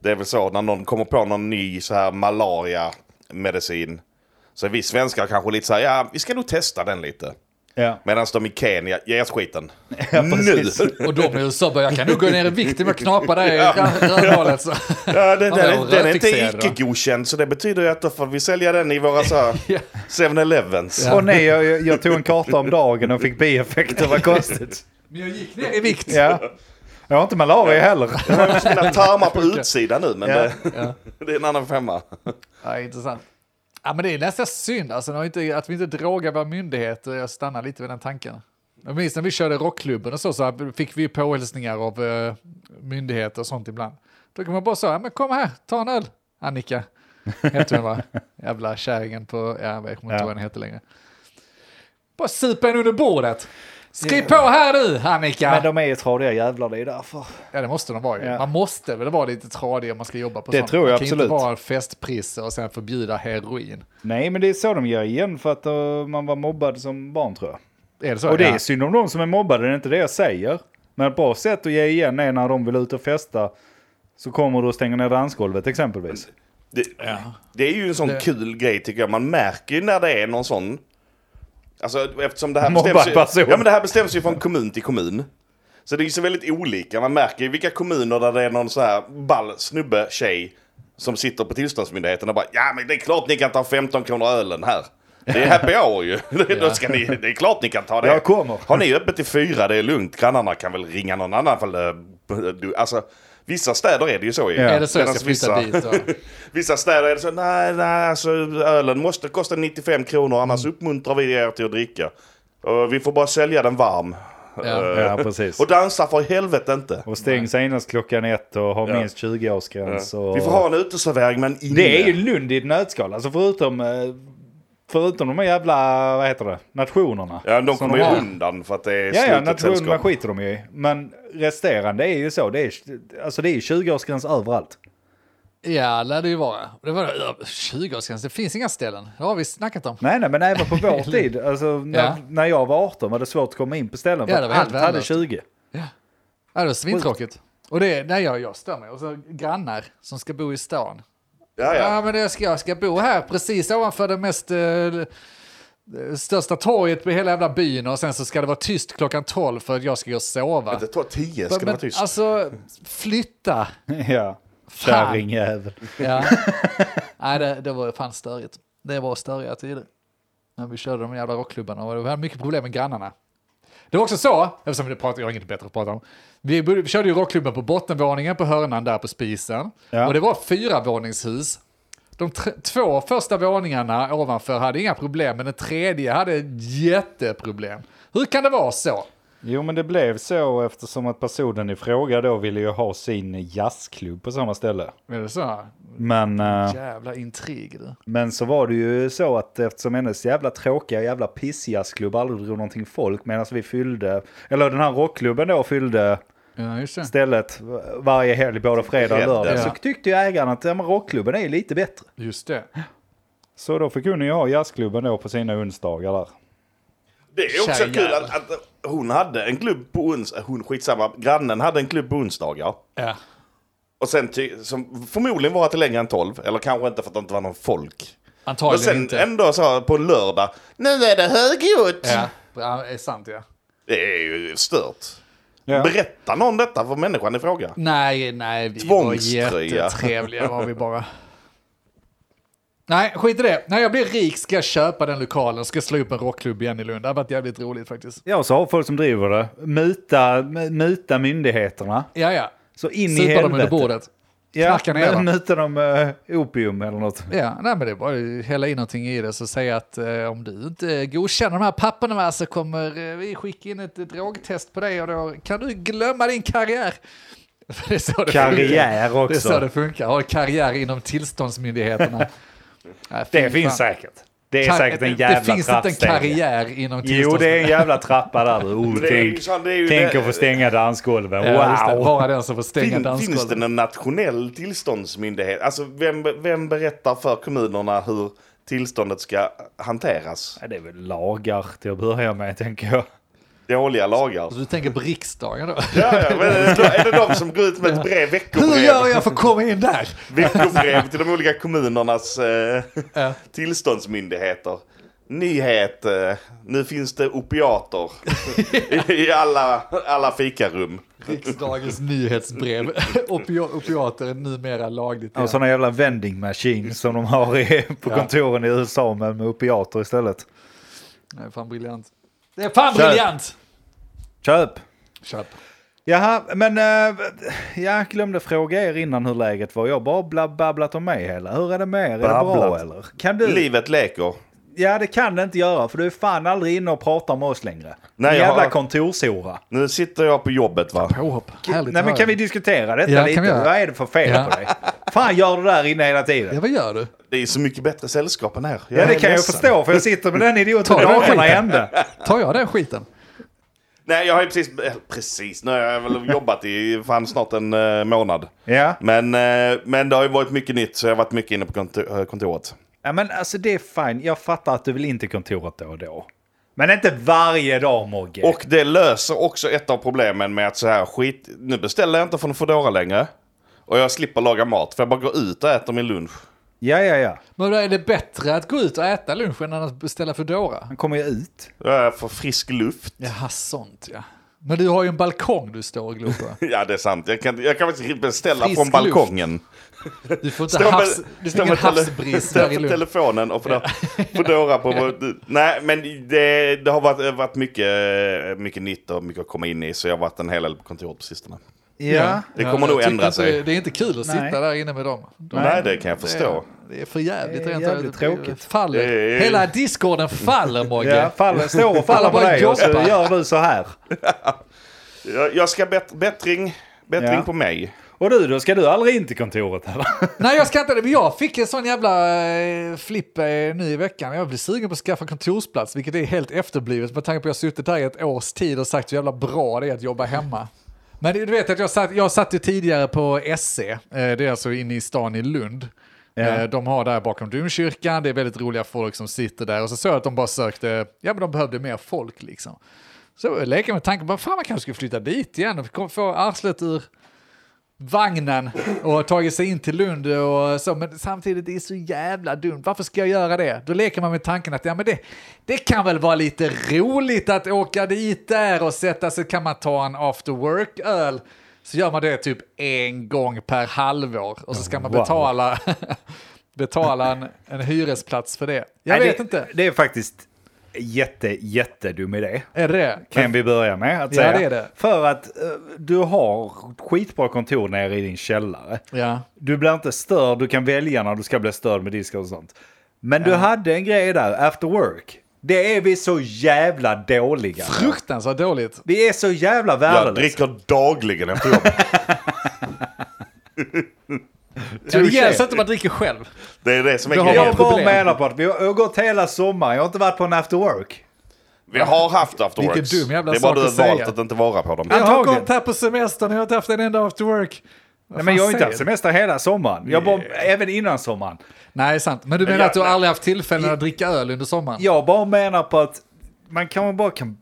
[SPEAKER 1] det är väl så när någon kommer på någon ny så här malaria-medicin. Så vi svenskar kanske lite så här, ja vi ska nog testa den lite.
[SPEAKER 3] Ja.
[SPEAKER 1] Medan de i Kenya, ge oss
[SPEAKER 3] [LAUGHS]
[SPEAKER 1] skiten. nu!
[SPEAKER 3] precis.
[SPEAKER 2] Och de i USA bara, jag kan nog gå ner i vikt om jag knapar där i rö- rövhålet. så.
[SPEAKER 1] Ja, den,
[SPEAKER 2] Ja,
[SPEAKER 1] den, den är inte
[SPEAKER 2] rökfixerad då.
[SPEAKER 1] icke-godkänd så det betyder ju att då får vi sälja den i våra så
[SPEAKER 3] [LAUGHS]
[SPEAKER 1] här
[SPEAKER 2] Ja.
[SPEAKER 1] 7-Elevens.
[SPEAKER 3] Åh nej, jag, jag- jag tog en karta om dagen och fick bieffekter, vad konstigt.
[SPEAKER 2] Men jag gick ner i vikt.
[SPEAKER 3] [LAUGHS] Ja. Jag har inte malaria heller.
[SPEAKER 1] Jag har också mina
[SPEAKER 3] [LAUGHS]
[SPEAKER 1] tarmar på utsidan nu men
[SPEAKER 3] Ja.
[SPEAKER 1] det, [LAUGHS] det är en annan femma.
[SPEAKER 2] Ja, intressant. Ja, men det är nästan synd alltså, när vi inte, att vi inte drogar våra myndigheter. Jag stannar lite vid den tanken. Jag minns när vi körde rockklubben och så, så här fick vi påhälsningar av eh, myndigheter och sånt ibland. Då kan man bara säga, ja, men kom här, ta en öl, Annika. Hette hon va? Jävla kärringen på, ja, jag kommer inte ihåg
[SPEAKER 3] Ja.
[SPEAKER 2] vad den heter längre. Bara supa en under bordet. Skriv på här nu, Annika!
[SPEAKER 3] Men de är ju tradiga jävlar, det är därför.
[SPEAKER 2] Ja, det måste de vara ju.
[SPEAKER 3] Ja.
[SPEAKER 2] Man måste väl vara lite tradig om man ska jobba på
[SPEAKER 3] Det
[SPEAKER 2] sånt.
[SPEAKER 3] tror jag
[SPEAKER 2] man kan ju
[SPEAKER 3] absolut.
[SPEAKER 2] inte vara en festprisse och sen förbjuda heroin.
[SPEAKER 3] Nej, men det är så de gör igen för att eh, man var mobbad som barn tror jag.
[SPEAKER 2] Är det så?
[SPEAKER 3] Och det
[SPEAKER 2] Ja.
[SPEAKER 3] är synd om de som är mobbade, det är inte det jag säger. Men ett bra sätt att ge igen är när de vill ut och festa så kommer du och stänger ner dansgolvet exempelvis.
[SPEAKER 1] Det, det är ju en sån kul grej tycker jag. Man märker ju när det är någon sån. Alltså eftersom det här
[SPEAKER 3] Mobbad
[SPEAKER 1] bestäms ju,
[SPEAKER 3] person.
[SPEAKER 1] ja, men det här bestäms ju från kommun till kommun. Så det är ju så väldigt olika. Man märker ju vilka kommuner där det är någon så här ball snubbe, tjej. Som sitter på tillståndsmyndigheten och bara ja men det är klart ni kan ta 15 kronor ölen här. Det är happy hour ju. [LAUGHS] Då ska ni, det är klart ni kan ta det.
[SPEAKER 3] Jag kommer.
[SPEAKER 1] Har ni öppet till fyra det är lugnt. Grannarna kan väl ringa någon annan. Fall, du, alltså, vissa städer är det ju så ju.
[SPEAKER 3] Ja.
[SPEAKER 2] Är det så jag
[SPEAKER 1] Medan
[SPEAKER 2] ska flytta
[SPEAKER 1] vissa-
[SPEAKER 2] dit? då?
[SPEAKER 1] Vissa städer är det så, nej, nej, alltså ölen måste kosta 95 kronor annars uppmuntrar vi er till att dricka. Och vi får bara sälja den varm.
[SPEAKER 3] [LAUGHS]
[SPEAKER 2] Ja.
[SPEAKER 3] Ja, precis.
[SPEAKER 1] Och dansa för i helvete inte.
[SPEAKER 3] Och stäng senast klockan ett och ha
[SPEAKER 1] Ja.
[SPEAKER 3] minst 20-årsgräns. Och...
[SPEAKER 1] Vi får ha en uteservering men inne.
[SPEAKER 3] Det är ju Lund i ett nötskal. Alltså förutom, eh, förutom de här jävla, vad heter det, nationerna.
[SPEAKER 1] Ja, de
[SPEAKER 3] Som
[SPEAKER 1] kommer ju
[SPEAKER 3] har.
[SPEAKER 1] undan för att det är
[SPEAKER 3] Ja, ja,
[SPEAKER 1] slutet
[SPEAKER 3] nationerna
[SPEAKER 1] sällskap.
[SPEAKER 3] skiter de ju i. Men resterande är ju så. Det är, alltså det är ju 20-årsgräns överallt.
[SPEAKER 2] Ja, lär det ju vara. Det var ja, 20-årsgräns, det finns inga ställen. Det har vi snackat om.
[SPEAKER 3] Nej, nej, men
[SPEAKER 2] [LAUGHS]
[SPEAKER 3] även på vår tid. Alltså, när,
[SPEAKER 2] Ja.
[SPEAKER 3] när jag var 18 var det svårt att komma in på ställen.
[SPEAKER 2] Ja,
[SPEAKER 3] för
[SPEAKER 2] det var
[SPEAKER 3] att allt
[SPEAKER 2] helt
[SPEAKER 3] hade
[SPEAKER 2] värdelöst.
[SPEAKER 3] 20.
[SPEAKER 2] Ja. ja det var svintråkigt. Och det, nej, jag, jag stör mig. Och så grannar som ska bo i stan.
[SPEAKER 1] Ja,
[SPEAKER 2] Ja,
[SPEAKER 1] ja.
[SPEAKER 2] men det ska, jag ska bo här precis ovanför det mest... Eh, största torget i hela jävla byn och sen så ska det vara tyst klockan 12 för att jag ska gå och sova.
[SPEAKER 1] Det tar tio, ska det vara tyst.
[SPEAKER 2] Alltså, flytta!
[SPEAKER 3] [LAUGHS] Ja. Kärringjävel.
[SPEAKER 2] Ja. [LAUGHS] Nej, det, det var fan störigt. Det var störiga tider. När vi körde de jävla rockklubbarna och vi hade mycket problem med grannarna. Det var också så, eftersom vi pratar, jag har inget bättre att prata om. Vi, bodde- vi körde ju rockklubben på bottenvåningen på hörnan där på spisen.
[SPEAKER 3] Ja.
[SPEAKER 2] Och det var fyra våningshus. De tre, två första våningarna ovanför hade inga problem, men den tredje hade jätteproblem. Hur kan det vara så?
[SPEAKER 3] Jo, men det blev så eftersom att personen i fråga då ville ju ha sin jazzklubb på samma ställe.
[SPEAKER 2] Är det så?
[SPEAKER 3] Men, eh,
[SPEAKER 2] Jävla intrig du.
[SPEAKER 3] men så var det ju så att eftersom hennes jävla tråkiga jävla pissjazzklubb aldrig drog någonting folk medan vi fyllde, eller den här rockklubben då fyllde
[SPEAKER 2] Ja, just det.
[SPEAKER 3] stället varje helg, både fredag och lördag.
[SPEAKER 1] Grädde.
[SPEAKER 3] Så tyckte ju ägaren att ja, men rockklubben är ju lite bättre.
[SPEAKER 2] Just det.
[SPEAKER 3] Så då fick hon ju ha jazzklubben då på sina onsdagar där.
[SPEAKER 1] Det är också
[SPEAKER 2] Tjejjävel.
[SPEAKER 1] kul att, att hon hade en klubb på onsdag. Hon, skitsamma. Grannen hade en klubb på onsdagar.
[SPEAKER 2] Ja.
[SPEAKER 1] Och sen ty- som förmodligen var det längre än 12. Eller kanske inte för att det inte var någon folk.
[SPEAKER 2] Antagligen
[SPEAKER 1] Och sen
[SPEAKER 2] inte.
[SPEAKER 1] ändå så här på en lördag. Nu är det högljutt!
[SPEAKER 2] Ja, ja, är sant ja.
[SPEAKER 1] Det är ju stört.
[SPEAKER 3] Ja.
[SPEAKER 1] Berätta någon detta för människan i fråga.
[SPEAKER 2] Nej, nej, vi var
[SPEAKER 1] Tvångströja.
[SPEAKER 2] jättetrevliga var vi bara. Nej, skit i det. När jag blir rik ska jag köpa den lokalen, ska slå upp en rockklubb igen i Lund. Det har varit jävligt roligt faktiskt.
[SPEAKER 3] Ja, och så har folk som driver det. Muta, m- muta myndigheterna.
[SPEAKER 2] Ja, ja.
[SPEAKER 3] Så in i
[SPEAKER 2] Supa
[SPEAKER 3] helvete.
[SPEAKER 2] dem under bordet.
[SPEAKER 3] Ja,
[SPEAKER 2] Knacka ner dem.
[SPEAKER 3] men muta dem eh, opium eller något.
[SPEAKER 2] Ja, nej, men det är bara att hälla in någonting i det så säga att eh, om du inte godkänner de här papperna va, så kommer eh, vi skicka in ett eh, drogtest på dig och då kan du glömma din karriär. [LAUGHS] Det är så det funkar.
[SPEAKER 3] Karriär
[SPEAKER 2] Det är så
[SPEAKER 3] också.
[SPEAKER 2] det funkar. Ha karriär inom
[SPEAKER 3] [LAUGHS]
[SPEAKER 2] tillståndsmyndigheterna. Nej, fy
[SPEAKER 3] Det,
[SPEAKER 2] fan.
[SPEAKER 3] finns säkert. Det är
[SPEAKER 2] Kar-
[SPEAKER 3] säkert en jävla
[SPEAKER 2] Det finns inte en
[SPEAKER 3] trappstege.
[SPEAKER 2] karriär inom
[SPEAKER 3] Jo, det är en jävla trappa där.
[SPEAKER 1] [LAUGHS]
[SPEAKER 3] Oh,
[SPEAKER 1] Det är ju
[SPEAKER 3] tänk,
[SPEAKER 1] så- det är ju
[SPEAKER 3] tänk
[SPEAKER 1] det-
[SPEAKER 3] att få stänga dansgolven.
[SPEAKER 2] Ja, wow. det,
[SPEAKER 3] wow!
[SPEAKER 2] bara den som får stänga
[SPEAKER 1] Fin, finns det
[SPEAKER 2] dansgolvet.
[SPEAKER 1] någon nationell tillståndsmyndighet? Alltså vem, vem berättar för kommunerna hur tillståndet ska hanteras?
[SPEAKER 3] Ja, Det är väl lagar till att börja med, tänker jag.
[SPEAKER 1] Dåliga lagar.
[SPEAKER 2] Så Du tänker på riksdagen
[SPEAKER 3] [LAUGHS]
[SPEAKER 2] då?
[SPEAKER 1] Ja, ja, men är det- är det de som går ut med ett brev,
[SPEAKER 2] Hur gör
[SPEAKER 1] veckobrev,
[SPEAKER 2] jag för att komma in där?
[SPEAKER 1] veckobrev till de olika kommunernas eh,
[SPEAKER 2] Ja.
[SPEAKER 1] tillståndsmyndigheter? Nyhet, eh, nu finns det opiater [LAUGHS] i, i alla, alla fikarum.
[SPEAKER 2] Riksdagens nyhetsbrev. [LAUGHS] Opio opiater är numera lagligt.
[SPEAKER 3] Och sådana jävla vending machine som de har i, på
[SPEAKER 2] Ja.
[SPEAKER 3] kontoren i USA men med opiater istället.
[SPEAKER 2] Det är fan briljant. Det är fan
[SPEAKER 3] Kör.
[SPEAKER 2] briljant!
[SPEAKER 3] Köp!
[SPEAKER 2] Köp.
[SPEAKER 3] Jaha, men eh, jag glömde fråga er innan hur läget var. Jag har bara bla- babblat om mig hela. Hur är det med er? Är det bra
[SPEAKER 1] Babblat.
[SPEAKER 3] eller? Kan du?
[SPEAKER 1] Livet leker.
[SPEAKER 3] Ja, det kan det inte göra för du är fan aldrig inne och pratar med oss längre.
[SPEAKER 1] Nej,
[SPEAKER 3] Nej,
[SPEAKER 1] jag
[SPEAKER 3] jävla
[SPEAKER 1] har-
[SPEAKER 3] kontorshora.
[SPEAKER 1] Nu sitter jag på jobbet va?
[SPEAKER 2] Påhopp. Härligt
[SPEAKER 3] Nej,
[SPEAKER 2] att
[SPEAKER 3] men
[SPEAKER 2] höra.
[SPEAKER 3] kan vi diskutera detta
[SPEAKER 2] Ja, kan
[SPEAKER 3] lite?
[SPEAKER 2] vi göra.
[SPEAKER 3] Vad är det för fel
[SPEAKER 2] Ja.
[SPEAKER 3] på dig? Fan gör du där inne hela tiden?
[SPEAKER 2] Ja, vad gör du?
[SPEAKER 1] Det är så mycket bättre sällskap än här.
[SPEAKER 3] Ja, det
[SPEAKER 1] är
[SPEAKER 3] kan jag
[SPEAKER 1] ledsen.
[SPEAKER 3] förstå för jag sitter med den idioten
[SPEAKER 2] Ta den
[SPEAKER 3] dagarna i
[SPEAKER 2] skiten.
[SPEAKER 3] ända.
[SPEAKER 2] Tar jag den skiten?
[SPEAKER 1] Nej, jag har ju precis... eh, Precis, nu har jag väl jobbat i fan snart en eh, månad.
[SPEAKER 3] Ja.
[SPEAKER 1] Men, eh, men det har ju varit mycket nytt så jag har varit mycket inne på kontor, eh, kontoret.
[SPEAKER 3] ja, men alltså det är fine. Jag fattar att du vill in till kontoret då och då. Men inte varje dag Mogge.
[SPEAKER 1] Och det löser också ett av problemen med att så här skit... Nu beställer jag inte från Foodora längre. Och jag slipper laga mat för jag bara går ut och äter min lunch.
[SPEAKER 3] Ja, ja, ja.
[SPEAKER 2] Men då är det bättre att gå ut och äta lunch än att beställa Foodora?
[SPEAKER 3] Han kommer ju ut.
[SPEAKER 1] Jag får frisk luft. [LAUGHS]
[SPEAKER 2] Jaha, sånt ja. Men du har ju en balkong du står och glor på.
[SPEAKER 1] Ja, det är sant. Jag kan, jag kan faktiskt beställa
[SPEAKER 2] Frisk
[SPEAKER 1] från
[SPEAKER 2] luft.
[SPEAKER 1] balkongen.
[SPEAKER 2] Du får
[SPEAKER 1] Stå
[SPEAKER 2] inte
[SPEAKER 1] med-
[SPEAKER 2] havs, du
[SPEAKER 1] stå
[SPEAKER 2] får ingen
[SPEAKER 1] med tele-
[SPEAKER 2] havsbris
[SPEAKER 1] stå
[SPEAKER 2] där i
[SPEAKER 1] med
[SPEAKER 2] Lund.
[SPEAKER 1] telefonen och få Foodora
[SPEAKER 2] [LAUGHS]
[SPEAKER 1] på vår... Nej, men det, det har varit, varit mycket, mycket nytt och mycket att komma in i. Så jag har varit en hel del på kontoret på sistone.
[SPEAKER 3] Ja.
[SPEAKER 1] Det kommer nog
[SPEAKER 2] jag tycker
[SPEAKER 1] ändra
[SPEAKER 2] inte,
[SPEAKER 1] sig.
[SPEAKER 2] Det är inte kul att sitta
[SPEAKER 3] Nej.
[SPEAKER 2] där inne med dem. De,
[SPEAKER 1] Nej, det kan jag förstå.
[SPEAKER 2] Det är för jävligt.
[SPEAKER 3] Det är
[SPEAKER 2] rent av.
[SPEAKER 3] jävligt tråkigt.
[SPEAKER 2] Faller.
[SPEAKER 1] Det är-
[SPEAKER 2] Hela
[SPEAKER 1] [LAUGHS]
[SPEAKER 2] discorden faller, Mogge.
[SPEAKER 3] Ja, faller, står och faller på
[SPEAKER 2] Alla bara
[SPEAKER 3] dig och så
[SPEAKER 2] jobbar.
[SPEAKER 3] gör du så här.
[SPEAKER 1] Jag, jag ska bätt, bättring, bättring
[SPEAKER 3] Ja.
[SPEAKER 1] på mig.
[SPEAKER 3] Och du då, ska du aldrig in till kontoret eller?
[SPEAKER 2] Nej, jag ska inte det. Men jag fick en sån jävla eh, flipp eh, nu i veckan. Jag blev sugen på att skaffa kontorsplats, vilket är helt efterblivet med tanke på att jag har suttit där i ett års tid och sagt hur jävla bra det är att jobba hemma. Men du vet att jag satt, jag satt ju tidigare på SC, eh, det är alltså inne i stan i Lund.
[SPEAKER 3] Ja.
[SPEAKER 2] Eh, De har där bakom domkyrkan, det är väldigt roliga folk som sitter där. Och så såg jag att de bara sökte, ja men de behövde mer folk liksom. Så jag leker med tanken, bara, fan man kanske skulle flytta dit igen och kom- få arslet ur vagnen och tagit sig in till Lund och så, men samtidigt det är så jävla dumt. Varför ska jag göra det? Då leker man med tanken att ja, men det, det kan väl vara lite roligt att åka dit där och sätta sig, kan man ta en after work-öl. Så gör man det typ en gång per halvår och så ska man
[SPEAKER 3] Wow.
[SPEAKER 2] betala, [LAUGHS] betala en, en hyresplats för det. Jag
[SPEAKER 3] Nej,
[SPEAKER 2] vet
[SPEAKER 3] det,
[SPEAKER 2] inte.
[SPEAKER 3] Det är faktiskt jätte, jättedum idé.
[SPEAKER 2] Är det det?
[SPEAKER 3] Kan vi börja med att
[SPEAKER 2] Ja,
[SPEAKER 3] säga.
[SPEAKER 2] det är det.
[SPEAKER 3] För att eh, du har skitbra kontor nere i din källare.
[SPEAKER 2] Ja.
[SPEAKER 3] Du blir inte störd, du kan välja när du ska bli störd med diskar och sånt. Men du hade en grej där, after work. Det är vi så jävla dåliga. på.
[SPEAKER 2] Fruktansvärt dåligt.
[SPEAKER 3] Vi är så jävla
[SPEAKER 1] Jag
[SPEAKER 3] värdelösa.
[SPEAKER 1] dricker dagligen efter jobbet.
[SPEAKER 2] Ja, det gäller att man dricker själv.
[SPEAKER 1] Det är det
[SPEAKER 2] [LAUGHS]
[SPEAKER 1] som är
[SPEAKER 2] Det har
[SPEAKER 1] grejen.
[SPEAKER 3] Jag bara
[SPEAKER 2] problem.
[SPEAKER 3] menar på att vi har jag har gått hela sommaren, jag har inte varit på en after work.
[SPEAKER 1] Vi har haft afterworks.
[SPEAKER 2] Vilken dum jävla
[SPEAKER 1] det är bara
[SPEAKER 2] sak
[SPEAKER 1] du har
[SPEAKER 2] att säga.
[SPEAKER 1] valt att inte vara på dem.
[SPEAKER 2] Jag har
[SPEAKER 3] Antagligen.
[SPEAKER 2] gått här på semestern och jag har inte haft en enda after work. Vad
[SPEAKER 3] Nej,
[SPEAKER 2] fan
[SPEAKER 3] men jag har inte
[SPEAKER 2] säger
[SPEAKER 3] haft
[SPEAKER 2] du?
[SPEAKER 3] semester hela sommaren. Jag bara, Även innan sommaren.
[SPEAKER 2] Nej, sant. Men du menar
[SPEAKER 3] jag-
[SPEAKER 2] att du aldrig haft tillfälle att dricka öl under sommaren?
[SPEAKER 3] Jag bara menar på att man kan bara kan,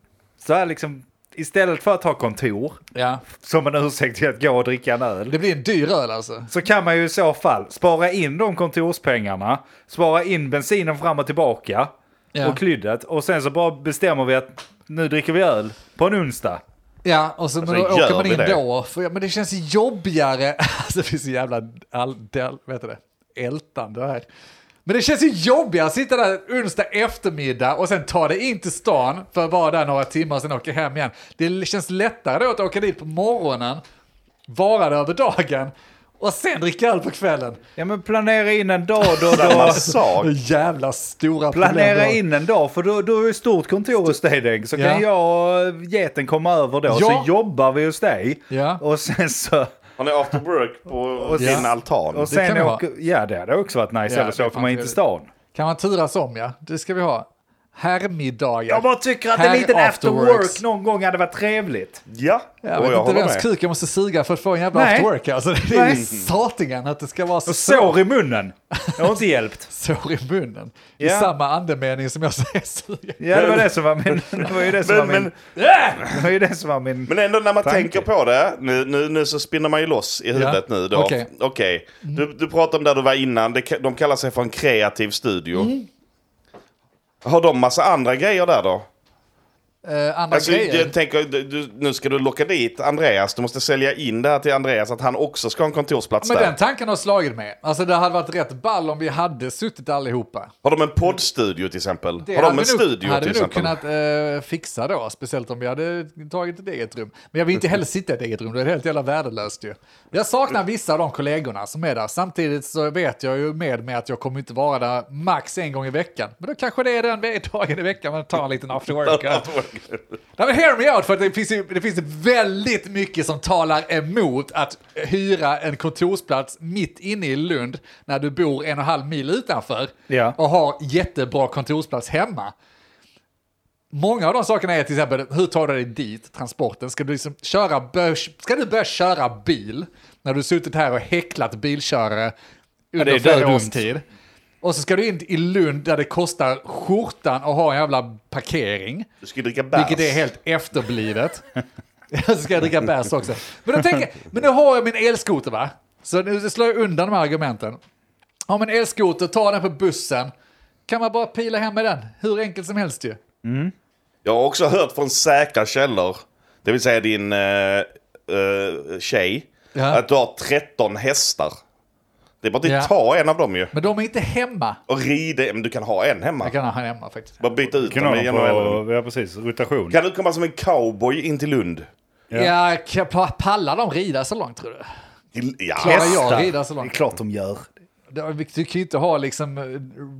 [SPEAKER 3] så här liksom, istället för att ha kontor
[SPEAKER 2] Ja.
[SPEAKER 3] som en ursäkt till att gå och dricka en öl.
[SPEAKER 2] Det blir en dyr öl alltså.
[SPEAKER 3] Så kan man ju i så fall spara in de kontorspengarna, spara in bensinen fram och tillbaka
[SPEAKER 2] Ja.
[SPEAKER 3] och klyddet och sen så bara bestämmer vi att nu dricker vi öl på en onsdag.
[SPEAKER 2] Ja, och så men då
[SPEAKER 1] Alltså, gör
[SPEAKER 2] åker man
[SPEAKER 1] vi
[SPEAKER 2] in
[SPEAKER 1] det?
[SPEAKER 2] då. För, ja, men det känns jobbigare. [LAUGHS] Alltså det finns så jävla all, del, vet du det? ältande här. Men det känns ju jobbigare att sitta där onsdag eftermiddag och sen ta det in till stan för att vara där några timmar och sen åka hem igen. Det känns lättare då att åka dit på morgonen, vara där över dagen och sen dricka öl på kvällen.
[SPEAKER 3] Ja men planera in en dag [LAUGHS] då, då
[SPEAKER 1] Samma sak.
[SPEAKER 2] Jävla stora problem. du
[SPEAKER 3] Planera
[SPEAKER 2] har.
[SPEAKER 3] in en dag för då, då är det stort kontor hos dig Deng. Så kan jag och geten komma över då
[SPEAKER 2] Ja.
[SPEAKER 3] så jobbar vi hos dig.
[SPEAKER 2] Ja.
[SPEAKER 3] Och sen så...
[SPEAKER 1] Har ni afterwork på
[SPEAKER 3] Ja.
[SPEAKER 1] din altan?
[SPEAKER 3] Och
[SPEAKER 2] kan
[SPEAKER 3] sen
[SPEAKER 2] det
[SPEAKER 3] åker, ja det hade också varit nice,
[SPEAKER 2] Ja,
[SPEAKER 3] eller
[SPEAKER 2] det
[SPEAKER 3] så
[SPEAKER 2] är
[SPEAKER 3] får
[SPEAKER 2] fan
[SPEAKER 3] man in till
[SPEAKER 2] trevligt.
[SPEAKER 3] stan.
[SPEAKER 2] Kan man turas om ja, det ska vi ha. Herrmiddagar.
[SPEAKER 3] Jag bara tycker att
[SPEAKER 2] Här
[SPEAKER 3] en liten after
[SPEAKER 2] afterworks.
[SPEAKER 3] work någon gång hade varit trevligt.
[SPEAKER 1] Ja,
[SPEAKER 2] Jag
[SPEAKER 1] och
[SPEAKER 2] vet
[SPEAKER 1] jag
[SPEAKER 2] inte
[SPEAKER 1] håller
[SPEAKER 2] vems
[SPEAKER 1] med.
[SPEAKER 2] kuk jag måste suga för att få en jävla
[SPEAKER 3] Nej.
[SPEAKER 2] afterwork. Alltså, det är ju
[SPEAKER 3] Nej.
[SPEAKER 2] satingen att det ska vara så,
[SPEAKER 3] Och sår i munnen. Det har inte hjälpt.
[SPEAKER 2] sår i munnen. I
[SPEAKER 3] Ja.
[SPEAKER 2] samma andemening som jag [LAUGHS] säger suga.
[SPEAKER 3] [LAUGHS] Ja det var det som var min... [LAUGHS] Det var ju det som var
[SPEAKER 1] Men,
[SPEAKER 3] min...
[SPEAKER 1] men,
[SPEAKER 3] [LAUGHS] Det var ju det som var min...
[SPEAKER 1] men ändå när man
[SPEAKER 3] Tanke.
[SPEAKER 1] tänker på det, nu, nu, nu så spinner man ju loss i huvudet nu då.
[SPEAKER 2] Okej. Mm.
[SPEAKER 1] Okej. Du, du pratade om där du var innan, det, ka- de kallar sig för en kreativ studio.
[SPEAKER 2] Mm.
[SPEAKER 1] Har de massa andra grejer där då?
[SPEAKER 2] Eh, andra
[SPEAKER 1] Alltså,
[SPEAKER 2] grejer.
[SPEAKER 1] jag tänker, du, du, nu ska du locka dit Andreas, du måste sälja in det här till Andreas att han också ska ha en kontorsplats
[SPEAKER 2] Men
[SPEAKER 1] där.
[SPEAKER 2] den tanken har slagit mig. Alltså det hade varit rätt ball om vi hade suttit allihopa.
[SPEAKER 1] Har de en poddstudio till exempel?
[SPEAKER 2] Det
[SPEAKER 1] har de
[SPEAKER 2] hade
[SPEAKER 1] en
[SPEAKER 2] vi nog-
[SPEAKER 1] studio
[SPEAKER 2] hade
[SPEAKER 1] till
[SPEAKER 2] vi nog
[SPEAKER 1] exempel?
[SPEAKER 2] kunnat eh, fixa då, speciellt om vi hade tagit ett eget rum. Men jag vill inte heller sitta i ett eget rum, det är helt jävla värdelöst ju. Jag saknar vissa av de kollegorna som är där. Samtidigt så vet jag ju med mig att jag kommer inte vara där max en gång i veckan. Men då kanske det är den ve- dagen i veckan man tar en liten after work. Ja. Nej men hear me out, för att det finns, ju, det finns väldigt mycket som talar emot att hyra en kontorsplats mitt inne i Lund när du bor en och en halv mil utanför
[SPEAKER 3] Ja.
[SPEAKER 2] och har jättebra kontorsplats hemma. Många av de sakerna är till exempel, hur tar du dig dit, transporten? Ska du, liksom köra, bör, ska du börja köra bil när du suttit här och häcklat bilkörare under
[SPEAKER 3] är
[SPEAKER 2] flera
[SPEAKER 3] dumt.
[SPEAKER 2] års tid? Och så ska du in i Lund där det kostar skjortan att ha en jävla parkering.
[SPEAKER 1] [LAUGHS] Du ska ju dricka bärs.
[SPEAKER 2] Vilket är helt efterblivet. så ska [LAUGHS] jag dricka bärs också. Men, då tänker, jag- men nu har jag min elskoter va? Så nu slår jag undan de här argumenten. Har man elskoter, tar den på bussen. Kan man bara pila hem med den? Hur enkelt som helst ju.
[SPEAKER 1] Jag har också hört från säkra källor, det vill säga din eh, eh, tjej,
[SPEAKER 2] Ja.
[SPEAKER 1] att du har 13 hästar. Det är bara att
[SPEAKER 2] Ja.
[SPEAKER 1] ta en av dem ju.
[SPEAKER 2] Men de är inte hemma.
[SPEAKER 1] Och rida, men du kan ha en hemma.
[SPEAKER 2] Jag kan ha hemma faktiskt.
[SPEAKER 1] Bara byta ut
[SPEAKER 3] Kan
[SPEAKER 1] dem
[SPEAKER 3] ha
[SPEAKER 1] genom elden.
[SPEAKER 3] någon på, ja precis, rotation.
[SPEAKER 1] Kan du komma som en cowboy in till Lund?
[SPEAKER 2] Ja, kan- pallar de rida så långt tror du?
[SPEAKER 1] Till- Ja.
[SPEAKER 2] Klarar jag rida så
[SPEAKER 3] Det är
[SPEAKER 2] långt?
[SPEAKER 3] klart de gör.
[SPEAKER 2] det- Du kan ju inte ha liksom eh,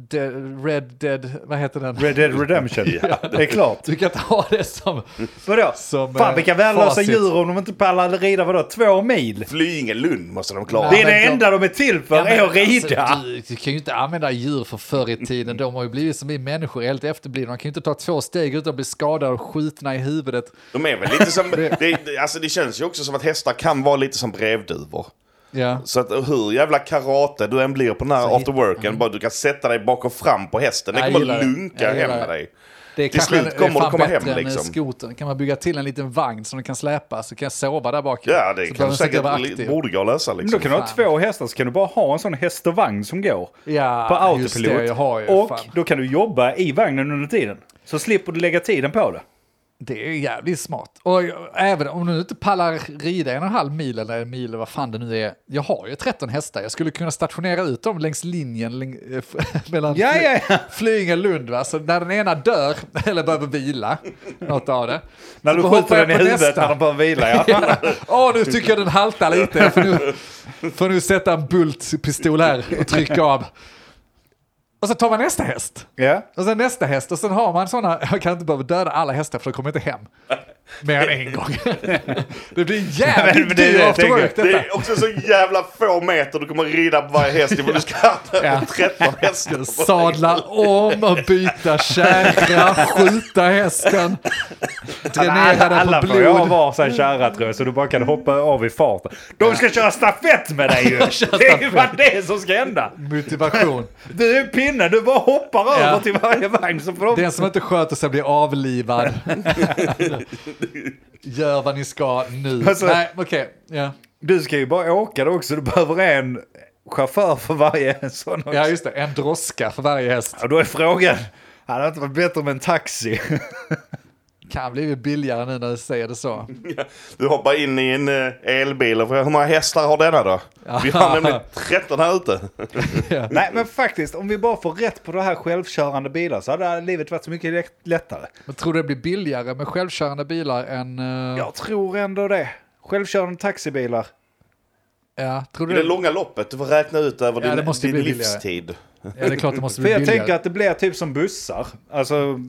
[SPEAKER 2] de, Red Dead, vad heter den?
[SPEAKER 3] Red Dead [LAUGHS] Redemption, det är klart.
[SPEAKER 2] Du kan inte ha det som...
[SPEAKER 3] Vadå?
[SPEAKER 2] Som,
[SPEAKER 3] Fan
[SPEAKER 2] eh,
[SPEAKER 3] vilka värdelösa
[SPEAKER 2] facit.
[SPEAKER 3] djur om de inte pallar rida vadå? Två mil?
[SPEAKER 1] Flyingelund måste de klara.
[SPEAKER 3] Det
[SPEAKER 2] Ja,
[SPEAKER 3] är det
[SPEAKER 2] men de-
[SPEAKER 3] enda de är till för, är att rida.
[SPEAKER 2] alltså, du, du kan ju inte använda djur för förr i tiden. De har ju blivit som vi människor, helt efterblivna. De kan ju inte ta två steg utan att bli skadade och skjutna i huvudet.
[SPEAKER 1] De är väl lite
[SPEAKER 2] [LAUGHS]
[SPEAKER 1] som... det, det- alltså det känns ju också som att hästar kan vara lite som brevduvor.
[SPEAKER 2] Ja.
[SPEAKER 1] Så att hur jävla karate du än blir på den här after worken, bara du kan sätta dig bak och fram på hästen. Den
[SPEAKER 2] Jag
[SPEAKER 1] kommer
[SPEAKER 2] gillar det.
[SPEAKER 1] lunka
[SPEAKER 2] Jag
[SPEAKER 1] hem
[SPEAKER 2] gillar
[SPEAKER 1] med
[SPEAKER 2] det.
[SPEAKER 1] dig.
[SPEAKER 2] Det är
[SPEAKER 1] Till
[SPEAKER 2] kanske-
[SPEAKER 1] slut kommer
[SPEAKER 2] det är fan
[SPEAKER 1] du komma hem,
[SPEAKER 2] bättre än, eh,
[SPEAKER 1] liksom.
[SPEAKER 2] skotern. Kan man bygga till en liten vagn som den kan släpa så kan jag sova där bak.
[SPEAKER 1] Ja, det
[SPEAKER 2] så
[SPEAKER 1] kan
[SPEAKER 2] behöver
[SPEAKER 1] du
[SPEAKER 2] den inte vara
[SPEAKER 1] säkert...
[SPEAKER 2] aktiv.
[SPEAKER 1] Borde gå att lösa
[SPEAKER 3] Men då
[SPEAKER 1] liksom.
[SPEAKER 3] kan du ha
[SPEAKER 2] Fan.
[SPEAKER 3] två hästar så kan du bara ha en sån häst och vagn som går.
[SPEAKER 2] Ja,
[SPEAKER 3] på
[SPEAKER 2] Ah, just
[SPEAKER 3] autopilot.
[SPEAKER 2] det, jag har ju,
[SPEAKER 3] och
[SPEAKER 2] fan.
[SPEAKER 3] då kan du jobba i vagnen under tiden. Så slipper du lägga tiden på det.
[SPEAKER 2] Det är jävligt smart. Och jag- även om du inte pallar rida en och en halv mil eller en mil eller vad fan det nu är. Jag har ju 13 hästar. Jag skulle kunna stationera ut dem längs linjen läng, eh, f- [LAUGHS] mellan
[SPEAKER 3] Ja, ja, ja.
[SPEAKER 2] Flyinge och Lund. Va? Så när den ena dör [LAUGHS] eller behöver vila, något av det.
[SPEAKER 3] När
[SPEAKER 2] så
[SPEAKER 3] du
[SPEAKER 2] hoppar
[SPEAKER 3] skjuter
[SPEAKER 2] jag
[SPEAKER 3] den i
[SPEAKER 2] på
[SPEAKER 3] huvudet
[SPEAKER 2] nästa.
[SPEAKER 3] när den bara vila.
[SPEAKER 2] [LAUGHS]
[SPEAKER 3] Ja.
[SPEAKER 2] Åh, nu tycker jag den haltar lite. Jag får nu, får nu sätta en bultpistol här och trycka av. Och så tar man nästa häst.
[SPEAKER 3] ja.
[SPEAKER 2] Och sen nästa häst och sen har man sådana, jag kan inte behöva döda alla hästar för de kommer inte hem. Mer än en gång. [LAUGHS] det blir en
[SPEAKER 3] Men- men
[SPEAKER 2] jävligt
[SPEAKER 3] det är det
[SPEAKER 2] dyr
[SPEAKER 3] jag
[SPEAKER 2] after work
[SPEAKER 3] tänker.
[SPEAKER 1] Det
[SPEAKER 2] detta.
[SPEAKER 1] är också så jävla få meter du kommer rida på varje häst ifall du ska ha 13
[SPEAKER 2] [LAUGHS]
[SPEAKER 1] hästar.
[SPEAKER 2] Sadla om och byta kärra, skjuta hästen, dränera
[SPEAKER 3] Alla,
[SPEAKER 2] den
[SPEAKER 3] alla
[SPEAKER 2] på
[SPEAKER 3] får ju ha
[SPEAKER 2] blod.
[SPEAKER 3] varsin kärra tror jag, så du bara kan hoppa av i farten. De ska köra stafett med
[SPEAKER 2] [LAUGHS]
[SPEAKER 3] dig ju! Det är ju vad det är som ska hända!
[SPEAKER 2] Motivation.
[SPEAKER 3] Du är pinnen, du bara hoppar över
[SPEAKER 2] Ja.
[SPEAKER 3] till varje vagn så får de...
[SPEAKER 2] Den som inte sköter sig blir avlivad. Gör vad ni ska nu.
[SPEAKER 3] Alltså-
[SPEAKER 2] Nej, okej. Ja.
[SPEAKER 3] Du ska ju bara åka då också, du behöver en chaufför för varje [LAUGHS] sån också.
[SPEAKER 2] ja, just det. En droska för varje häst.
[SPEAKER 3] Och då är frågan, hade det inte varit bättre med en taxi?
[SPEAKER 2] Kan bli billigare nu när du säger det så.
[SPEAKER 1] Du hoppar in i en eh, elbil och frågar hur många hästar har denna då? Vi har nämligen 13 här ute.
[SPEAKER 3] Nej men faktiskt, om vi bara får rätt på det här självkörande bilar så hade livet varit så mycket lätt- lättare.
[SPEAKER 2] Men tror du det blir billigare med självkörande bilar än... eh, ja.
[SPEAKER 3] Jag tror ändå det. Självkörande taxibilar.
[SPEAKER 2] tror
[SPEAKER 1] I
[SPEAKER 2] du
[SPEAKER 1] det
[SPEAKER 2] det?
[SPEAKER 1] långa loppet, du får räkna ut över
[SPEAKER 2] Ja, det
[SPEAKER 1] din,
[SPEAKER 2] måste
[SPEAKER 1] din
[SPEAKER 2] bli billigare.
[SPEAKER 1] livstid.
[SPEAKER 2] Ja, det är klart det måste
[SPEAKER 3] För
[SPEAKER 2] bli
[SPEAKER 3] jag
[SPEAKER 2] billigare.
[SPEAKER 3] tänker att det blir typ som bussar. Alltså,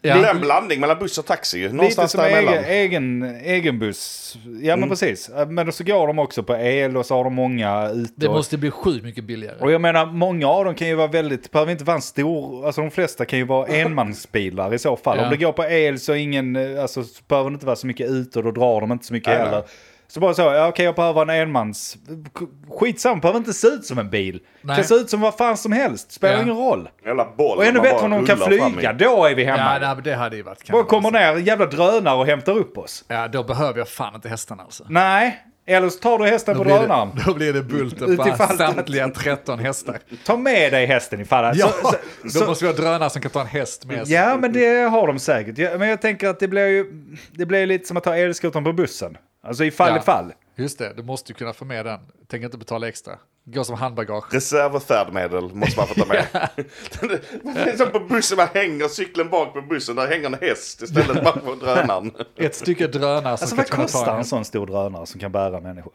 [SPEAKER 1] Det är
[SPEAKER 2] ja.
[SPEAKER 1] en blandning mellan buss och taxi ju.
[SPEAKER 3] lite
[SPEAKER 1] Någonstans
[SPEAKER 3] som egen,
[SPEAKER 1] däremellan.
[SPEAKER 3] egen, egen buss. Ja men
[SPEAKER 2] Mm.
[SPEAKER 3] precis. Men så går de också på el och så har de många ute.
[SPEAKER 2] Det
[SPEAKER 3] och-
[SPEAKER 2] måste bli sjukt mycket billigare.
[SPEAKER 3] Och jag menar, många av dem kan ju vara väldigt, behöver inte vara en stor, alltså de flesta kan
[SPEAKER 2] [LAUGHS]
[SPEAKER 3] ju vara enmansbilar i så fall.
[SPEAKER 2] Ja.
[SPEAKER 3] Om det går på el så ingen, eh, alltså så behöver det inte vara så mycket ut och då drar de inte så mycket
[SPEAKER 1] Nej,
[SPEAKER 3] heller.
[SPEAKER 1] nej.
[SPEAKER 3] Så bara så, ja, okej jag behöver en enmans, skitsamma, behöver inte se ut som en bil.
[SPEAKER 2] Nej.
[SPEAKER 3] Kan se ut som vad fan som helst, spelar
[SPEAKER 2] Ja.
[SPEAKER 3] ingen roll.
[SPEAKER 1] Jävla boll.
[SPEAKER 3] Och ännu
[SPEAKER 1] man
[SPEAKER 3] bättre
[SPEAKER 1] bara
[SPEAKER 3] om de kan
[SPEAKER 1] rullar fram i.
[SPEAKER 3] flyga, då är vi hemma.
[SPEAKER 2] Ja, nej, men det hade ju varit kanon.
[SPEAKER 3] bara kommer ner en jävla drönare och hämtar upp oss.
[SPEAKER 2] Ja, då behöver jag fan inte hästarna alltså.
[SPEAKER 3] Nej, eller så tar du hästen på
[SPEAKER 2] Då blir, det,
[SPEAKER 3] drönaren.
[SPEAKER 2] då blir det bulten på
[SPEAKER 3] Utifall-
[SPEAKER 2] samtliga 13
[SPEAKER 3] [LAUGHS]
[SPEAKER 2] hästar.
[SPEAKER 3] Ta med dig hästen ifall...
[SPEAKER 2] Ja,
[SPEAKER 3] så, så,
[SPEAKER 2] då
[SPEAKER 3] så,
[SPEAKER 2] måste vi ha drönare som kan ta en häst med sig.
[SPEAKER 3] Ja, men det har de säkert. Ja, men jag tänker att det blir ju det blir lite som att ta elskotern på bussen. Alltså ifall
[SPEAKER 2] Ja.
[SPEAKER 3] ifall.
[SPEAKER 2] Just det, du måste ju kunna få med den. Tänk inte betala extra. Gå som handbagage.
[SPEAKER 1] Reserv och färdmedel måste man få ta med. det är som på bussen, man hänger cykeln bak på bussen, där hänger en häst istället bara för drönaren.
[SPEAKER 2] Ett stycke drönare som
[SPEAKER 3] Alltså
[SPEAKER 2] ska
[SPEAKER 3] vad
[SPEAKER 2] kunna ta
[SPEAKER 3] kostar
[SPEAKER 2] en
[SPEAKER 3] en sån stor drönare som kan bära människor?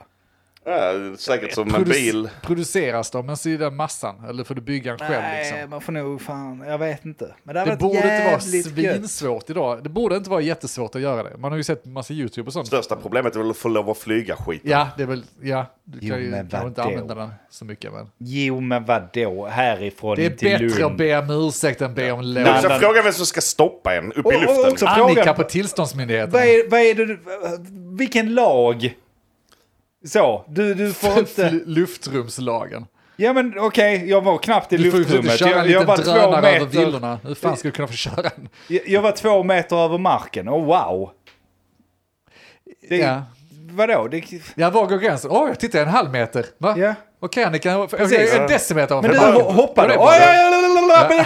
[SPEAKER 1] Ja, säkert som en
[SPEAKER 2] Produc-
[SPEAKER 1] bil.
[SPEAKER 2] Produceras de ens i den massan? Eller får du bygga en själv? liksom?
[SPEAKER 3] man får nog fan, jag vet inte. Men det,
[SPEAKER 2] Det borde inte vara svinsvårt idag. Det borde inte vara jättesvårt att göra det. Man har ju sett massa YouTube och sånt.
[SPEAKER 1] Största problemet är väl att få lov att flyga skit.
[SPEAKER 2] Ja, det är väl, ja, du
[SPEAKER 3] Jo,
[SPEAKER 2] kan ju
[SPEAKER 3] men
[SPEAKER 2] kanske inte
[SPEAKER 3] vadå?
[SPEAKER 2] använda den så mycket. Men.
[SPEAKER 3] Jo, men vadå? Härifrån
[SPEAKER 2] Det är
[SPEAKER 3] till
[SPEAKER 2] bättre att
[SPEAKER 3] Lund.
[SPEAKER 2] be om ursäkt än be om
[SPEAKER 1] Det är
[SPEAKER 2] lov.
[SPEAKER 1] också
[SPEAKER 3] Annan-
[SPEAKER 1] frågan vem som ska stoppa en upp i
[SPEAKER 3] Och- och
[SPEAKER 1] luften.
[SPEAKER 3] också-
[SPEAKER 2] Annika
[SPEAKER 3] frågan-
[SPEAKER 2] på tillståndsmyndigheten.
[SPEAKER 3] Vad
[SPEAKER 2] [LAUGHS]
[SPEAKER 3] är, vad är det du- Vilken lag? Så, du,
[SPEAKER 2] [LAUGHS]
[SPEAKER 3] du får inte...
[SPEAKER 2] Luftrumslagen.
[SPEAKER 3] Ja men okej, jag var knappt i
[SPEAKER 2] Du får ju inte
[SPEAKER 3] luftrummet.
[SPEAKER 2] köra en
[SPEAKER 3] Jag, jag, var
[SPEAKER 2] liten
[SPEAKER 3] två
[SPEAKER 2] drönare över
[SPEAKER 3] meter,
[SPEAKER 2] villorna. Hur fan ska du kunna få köra en?
[SPEAKER 3] jag, jag var två meter över marken, och wow. Det,
[SPEAKER 2] Ja.
[SPEAKER 3] Vadå? Det,
[SPEAKER 2] Ja, var går gränsen? Åh, jag tittar en halv meter. Va?
[SPEAKER 3] Ja.
[SPEAKER 2] Okej, Annika. Okay, en decimeter.
[SPEAKER 3] Men du
[SPEAKER 2] Bara-
[SPEAKER 3] ho- hoppade.
[SPEAKER 2] Ja, det är
[SPEAKER 3] Oj,
[SPEAKER 2] bra.
[SPEAKER 3] ja, ja, ja, ja, ja, ja,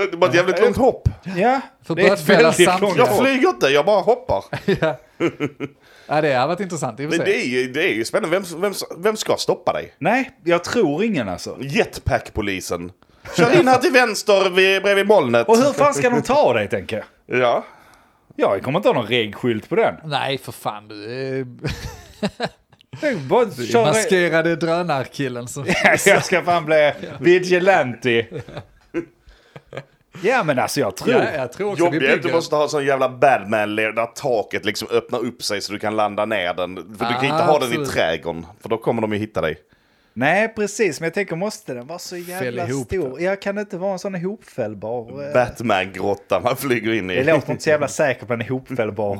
[SPEAKER 3] ja.
[SPEAKER 1] Det var ett jävligt långt hopp.
[SPEAKER 3] Ja,
[SPEAKER 2] För
[SPEAKER 3] det är ett
[SPEAKER 2] bötfälla
[SPEAKER 3] väldigt
[SPEAKER 2] samtliga.
[SPEAKER 3] långt
[SPEAKER 1] Jag
[SPEAKER 3] hopp.
[SPEAKER 1] flyger inte, jag bara
[SPEAKER 3] [LAUGHS]
[SPEAKER 1] hoppar.
[SPEAKER 2] Ja. ja, det har varit intressant i och för
[SPEAKER 1] Men
[SPEAKER 2] sig.
[SPEAKER 1] det är ju, det är ju spännande. Vem, vem, vem ska stoppa dig?
[SPEAKER 3] Nej, jag tror ingen alltså.
[SPEAKER 1] Jetpack-polisen. Kör in här till vänster vid, bredvid molnet.
[SPEAKER 3] Och hur fan ska de ta dig tänker jag?
[SPEAKER 1] Ja.
[SPEAKER 3] Ja, jag kommer inte ha någon regskylt på den.
[SPEAKER 2] eh, Nej, för fan. Du är...
[SPEAKER 3] Det är Bara köra...
[SPEAKER 2] Maskerade drönarkillen som...
[SPEAKER 3] Jag ska fan bli vigilante. Ja men alltså jag tror...
[SPEAKER 2] Ja, jag tror också vi
[SPEAKER 1] Jobbigt att du
[SPEAKER 2] bygger...
[SPEAKER 1] måste ha sån jävla badman där taket liksom öppnar upp sig så du kan landa ner den. För du kan inte
[SPEAKER 2] Ah,
[SPEAKER 1] ha den i
[SPEAKER 2] absolut.
[SPEAKER 1] trädgården, för då kommer de ju hitta dig.
[SPEAKER 3] Nej precis, men jag tänker måste den vara så jävla
[SPEAKER 2] ihop
[SPEAKER 3] stor? Jag kan inte vara en sån ihopfällbar. eh,
[SPEAKER 1] Batman-grotta man flyger in
[SPEAKER 3] Det
[SPEAKER 1] i. [LAUGHS]
[SPEAKER 3] låter inte så jävla säkert på en [LAUGHS] ihopfällbar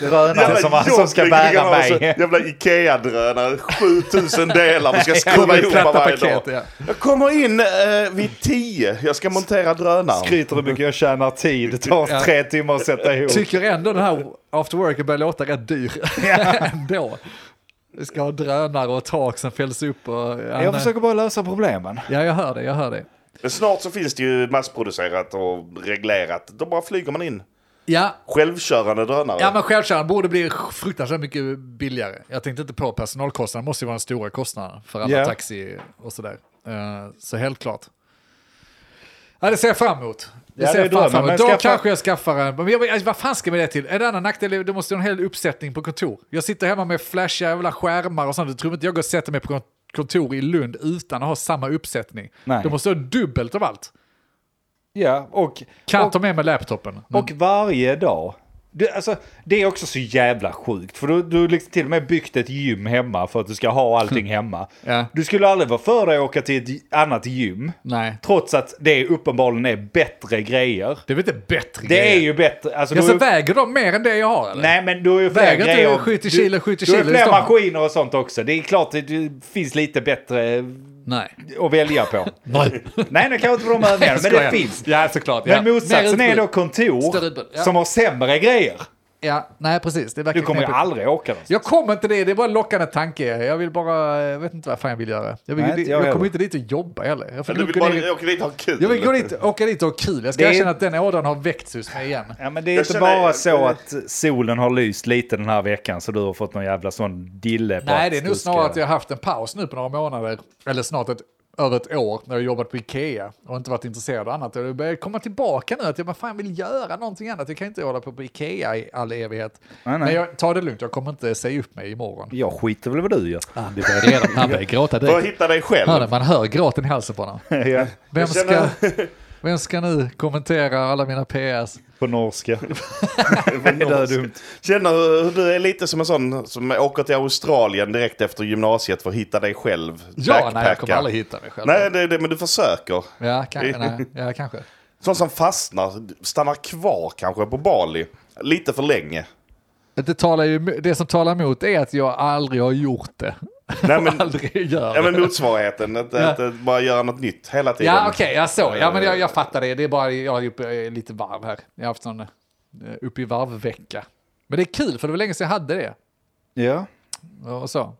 [SPEAKER 3] drönare som, som
[SPEAKER 1] jobbigt,
[SPEAKER 3] ska
[SPEAKER 1] vilken
[SPEAKER 3] bära
[SPEAKER 1] jävla-
[SPEAKER 3] mig.
[SPEAKER 1] Jävla Ikea-drönare, 7000 delar du
[SPEAKER 2] [LAUGHS]
[SPEAKER 1] ska skruva
[SPEAKER 2] kommer i
[SPEAKER 1] ihop
[SPEAKER 2] platta
[SPEAKER 1] varje
[SPEAKER 2] paket,
[SPEAKER 1] dag.
[SPEAKER 2] ja.
[SPEAKER 1] Jag kommer in eh, vid 10, jag ska montera drönaren.
[SPEAKER 3] Skryter hur mycket jag tjänar tid. Det tar
[SPEAKER 2] Ja.
[SPEAKER 3] tre timmar att sätta ihop.
[SPEAKER 2] Tycker ändå den här After Work börjar låta rätt dyr. [LAUGHS] ändå. Vi ska ha drönare och tak som fälls upp och... Ja, nej.
[SPEAKER 3] Jag försöker bara lösa problemen.
[SPEAKER 2] ja, jag hör det, jag hör det.
[SPEAKER 1] Men snart så finns det ju massproducerat och reglerat. Då bara flyger man in.
[SPEAKER 2] Ja,
[SPEAKER 1] Självkörande drönare.
[SPEAKER 2] ja men självkörande borde bli fruktansvärt mycket billigare. Jag tänkte inte på personalkostnaden, måste ju vara den stora kostnaden för alla
[SPEAKER 3] Ja.
[SPEAKER 2] taxi och sådär. Eh, så helt klart. Ja, det ser jag fram emot. Det
[SPEAKER 3] Ja,
[SPEAKER 2] ser
[SPEAKER 3] det är
[SPEAKER 2] jag fan
[SPEAKER 3] drömmen,
[SPEAKER 2] fram
[SPEAKER 3] men
[SPEAKER 2] emot. Då
[SPEAKER 3] skaffa-
[SPEAKER 2] kanske jag skaffar en. Men jag, men, alltså, vad fan ska jag med det till? En annan nackdel är att du måste ha en hel uppsättning på kontor. Jag sitter hemma med flashiga jävla skärmar och sånt. Du tror inte jag går och sätter mig på kon- kontor i Lund utan att ha samma uppsättning.
[SPEAKER 3] Nej.
[SPEAKER 2] Du måste ha dubbelt av allt.
[SPEAKER 3] Ja, och,
[SPEAKER 2] Kan
[SPEAKER 3] och,
[SPEAKER 2] ta med mig laptopen. Men-
[SPEAKER 3] och varje dag. Du, alltså, det är också så jävla sjukt. För du du har liksom till och med byggt ett gym hemma för att du ska ha allting hemma.
[SPEAKER 2] Mm. Ja.
[SPEAKER 3] Du skulle aldrig vara för dig att åka till ett annat gym.
[SPEAKER 2] nej.
[SPEAKER 3] Trots att det uppenbarligen är bättre grejer.
[SPEAKER 2] Det är väl inte bättre
[SPEAKER 3] Det är
[SPEAKER 2] grejer?
[SPEAKER 3] ju bättre. Alltså,
[SPEAKER 2] Ja,
[SPEAKER 3] du
[SPEAKER 2] så
[SPEAKER 3] har ju-
[SPEAKER 2] väger de mer än det jag har eller?
[SPEAKER 3] Nej men du har ju fler
[SPEAKER 2] Väger inte
[SPEAKER 3] grejer.
[SPEAKER 2] 70
[SPEAKER 3] Du-
[SPEAKER 2] kilo, 70
[SPEAKER 3] Du
[SPEAKER 2] kilo,
[SPEAKER 3] har ju fler
[SPEAKER 2] det står.
[SPEAKER 3] maskiner och sånt också. Det är klart det- det finns lite bättre
[SPEAKER 2] Nej.
[SPEAKER 3] att
[SPEAKER 2] [LAUGHS]
[SPEAKER 3] välja på.
[SPEAKER 2] Nej.
[SPEAKER 3] Nej, det kanske inte på de övningarna, men det
[SPEAKER 2] skojar.
[SPEAKER 3] finns.
[SPEAKER 2] Ja, såklart. Ja.
[SPEAKER 3] Men motsatsen
[SPEAKER 2] Mer
[SPEAKER 3] är
[SPEAKER 2] utbud.
[SPEAKER 3] då kontor
[SPEAKER 2] Större utbud, ja.
[SPEAKER 3] som har sämre grejer.
[SPEAKER 2] Ja, nej precis. Det är
[SPEAKER 3] Du
[SPEAKER 2] verkligen
[SPEAKER 3] kommer ju
[SPEAKER 2] knepigt.
[SPEAKER 3] aldrig åka någonstans.
[SPEAKER 2] Jag kommer inte det, det är bara en lockande tanke. Jag vill bara, jag vet inte vad fan jag vill göra. Jag, vill,
[SPEAKER 3] Nej, inte jag
[SPEAKER 2] jag, kommer
[SPEAKER 3] heller.
[SPEAKER 2] inte dit och jobba heller. Jag, får
[SPEAKER 1] Du
[SPEAKER 2] nog
[SPEAKER 1] vill
[SPEAKER 2] gå ner-
[SPEAKER 1] bara åka dit och ha kul.
[SPEAKER 2] jag vill gå dit, åka dit och ha kul. Jag ska
[SPEAKER 3] Det är-
[SPEAKER 2] erkänna att den ådran har väckts hos mig igen.
[SPEAKER 3] Ja, men det är
[SPEAKER 1] Jag
[SPEAKER 3] inte
[SPEAKER 1] känner-
[SPEAKER 3] bara så att solen har lyst lite den här veckan så du har fått någon jävla sån dille på
[SPEAKER 2] Nej,
[SPEAKER 3] att
[SPEAKER 2] det är
[SPEAKER 3] du
[SPEAKER 2] nog
[SPEAKER 3] ska-
[SPEAKER 2] snarare att jag har haft en paus nu på några månader, eller snart ett, över ett år, när jag jobbat på Ikea och inte varit intresserad av annat. Och det börjar komma tillbaka nu, att jag bara fan vill göra någonting annat. Jag kan inte hålla på på Ikea i all evighet.
[SPEAKER 3] Nej, nej.
[SPEAKER 2] Men jag tar det lugnt, jag kommer inte säga upp mig imorgon.
[SPEAKER 3] Jag skiter väl vad du gör.
[SPEAKER 2] Han Ah, börjar redan, han börjar gråta
[SPEAKER 1] För att
[SPEAKER 2] direkt.
[SPEAKER 1] hitta dig själv.
[SPEAKER 2] Hör det, man hör gråten i halsen på honom.
[SPEAKER 3] [LAUGHS] Ja,
[SPEAKER 2] Vem
[SPEAKER 1] Jag känner-
[SPEAKER 2] ska, vem ska nu kommentera alla mina PS? [LAUGHS]
[SPEAKER 3] på norska. [LAUGHS] Nej, det är dumt.
[SPEAKER 1] Känner hur hur du är lite som en sån som åker till Australien direkt efter gymnasiet för att hitta dig själv.
[SPEAKER 2] Ja, nej, jag
[SPEAKER 1] Backpacka.
[SPEAKER 2] kommer aldrig hitta mig själv.
[SPEAKER 1] Nej, det, det, men du försöker.
[SPEAKER 2] Ja, kanske. Nej, ja,
[SPEAKER 1] [LAUGHS]
[SPEAKER 2] kanske.
[SPEAKER 1] Sån som fastnar, stannar kvar kanske på Bali. Lite för länge.
[SPEAKER 2] Det, talar ju, det som talar emot är att jag aldrig har gjort det.
[SPEAKER 1] Nej,
[SPEAKER 2] [LAUGHS]
[SPEAKER 1] men,
[SPEAKER 2] Aldrig gör
[SPEAKER 1] ja,
[SPEAKER 2] det.
[SPEAKER 1] men motsvarigheten. Att, att, att bara göra något nytt hela tiden.
[SPEAKER 2] Ja, okej, jag såg. Ja, men jag, jag fattar det. Det är bara jag är uppe jag är lite varv här. Jag har haft sån eh, upp i varv-vecka. Men det är kul, för det var länge sedan jag hade det.
[SPEAKER 3] Ja,
[SPEAKER 2] Och så. Eh,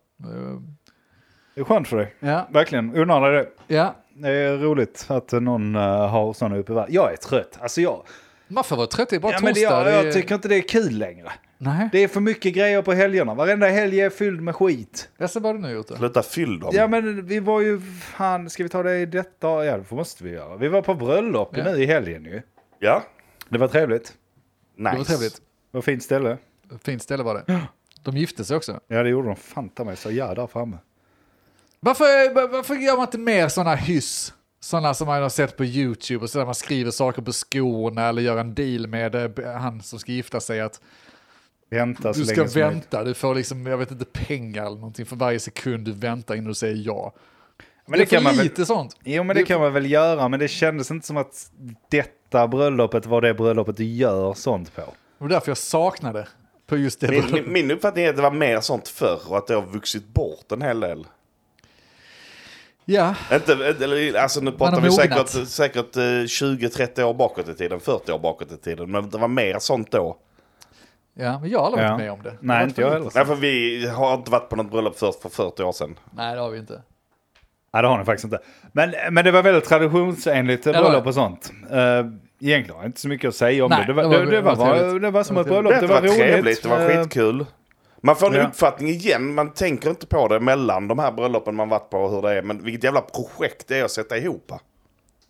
[SPEAKER 3] det är skönt för dig.
[SPEAKER 2] Ja,
[SPEAKER 3] Verkligen, unnar dig det.
[SPEAKER 2] ja.
[SPEAKER 3] Det är roligt att någon eh, har sådana uppe i världen. Jag är trött. Alltså jag,
[SPEAKER 2] Man får vara trött, det är bara
[SPEAKER 3] ja,
[SPEAKER 2] torsdag.
[SPEAKER 3] men det, jag,
[SPEAKER 2] det är-
[SPEAKER 3] jag tycker inte det är kul längre.
[SPEAKER 2] Nej,
[SPEAKER 3] Det är för mycket grejer på helgerna. Varenda helg är fylld med skit.
[SPEAKER 2] jag ser vad du nu har gjort. Då.
[SPEAKER 1] Sluta fyll dem.
[SPEAKER 3] Ja men vi var ju, fan ska vi ta det i detta? Ja det måste vi göra. Vi var på bröllop
[SPEAKER 2] Ja.
[SPEAKER 3] nu i helgen ju.
[SPEAKER 1] Ja,
[SPEAKER 3] Det var trevligt.
[SPEAKER 1] nice.
[SPEAKER 2] Det var trevligt.
[SPEAKER 3] Det var fint ställe.
[SPEAKER 2] Fint ställe var det. De gifte sig också.
[SPEAKER 3] Ja det gjorde de fan ta mig så jävla där framme.
[SPEAKER 2] Varför, varför gör man inte mer sådana hyss? Sådana som man har sett på YouTube och sådär man skriver saker på skorna eller gör en deal med eh, han som ska gifta sig att
[SPEAKER 3] Vänta så
[SPEAKER 2] du ska
[SPEAKER 3] länge som möjligt.
[SPEAKER 2] vänta, du får liksom, jag vet inte, pengar eller någonting för varje sekund du väntar innan du säger ja. det,
[SPEAKER 3] Men det kan
[SPEAKER 2] är
[SPEAKER 3] man
[SPEAKER 2] för
[SPEAKER 3] väl,
[SPEAKER 2] lite sånt.
[SPEAKER 3] jo men det kan man väl göra men det kändes inte som att detta bröllopet var det bröllopet du gör sånt på.
[SPEAKER 2] Och därför jag saknade på just det.
[SPEAKER 1] Min, min- min uppfattning är att det var mer sånt förr och att det har vuxit bort en hel del.
[SPEAKER 2] Ja,
[SPEAKER 1] Inte, eller, alltså nu pratar
[SPEAKER 2] har
[SPEAKER 1] vi
[SPEAKER 2] mognat.
[SPEAKER 1] säkert, säkert eh, 20-30 år bakåt i tiden, 40 år bakåt i tiden. Men det var mer sånt då.
[SPEAKER 2] ja, men jag håller
[SPEAKER 3] Ja.
[SPEAKER 2] inte med om det.
[SPEAKER 3] Nej, inte jag heller.
[SPEAKER 1] Nej, för vi har inte varit på något bröllop först för 40 år sedan.
[SPEAKER 2] Nej, det har vi inte.
[SPEAKER 3] Ja, det har ni faktiskt inte. Men, men det var väldigt traditionsenligt eh,
[SPEAKER 2] det var
[SPEAKER 3] bröllop
[SPEAKER 2] det.
[SPEAKER 3] och sånt. Eh, egentligen har jag inte så mycket att säga om
[SPEAKER 2] Nej,
[SPEAKER 3] det. Det var,
[SPEAKER 2] det
[SPEAKER 3] det,
[SPEAKER 2] var-
[SPEAKER 3] det, var,
[SPEAKER 2] det var
[SPEAKER 3] bara-
[SPEAKER 2] trevligt.
[SPEAKER 3] det var som
[SPEAKER 2] Det
[SPEAKER 3] ett
[SPEAKER 2] var
[SPEAKER 3] bröllop. Det var, roligt.
[SPEAKER 1] trevligt, det var
[SPEAKER 3] Eh,
[SPEAKER 1] skitkul. Man får en
[SPEAKER 3] ja.
[SPEAKER 1] uppfattning igen, man tänker inte på det mellan de här bröllopen man varit på och hur det är. Men vilket jävla projekt det är att sätta ihop. va?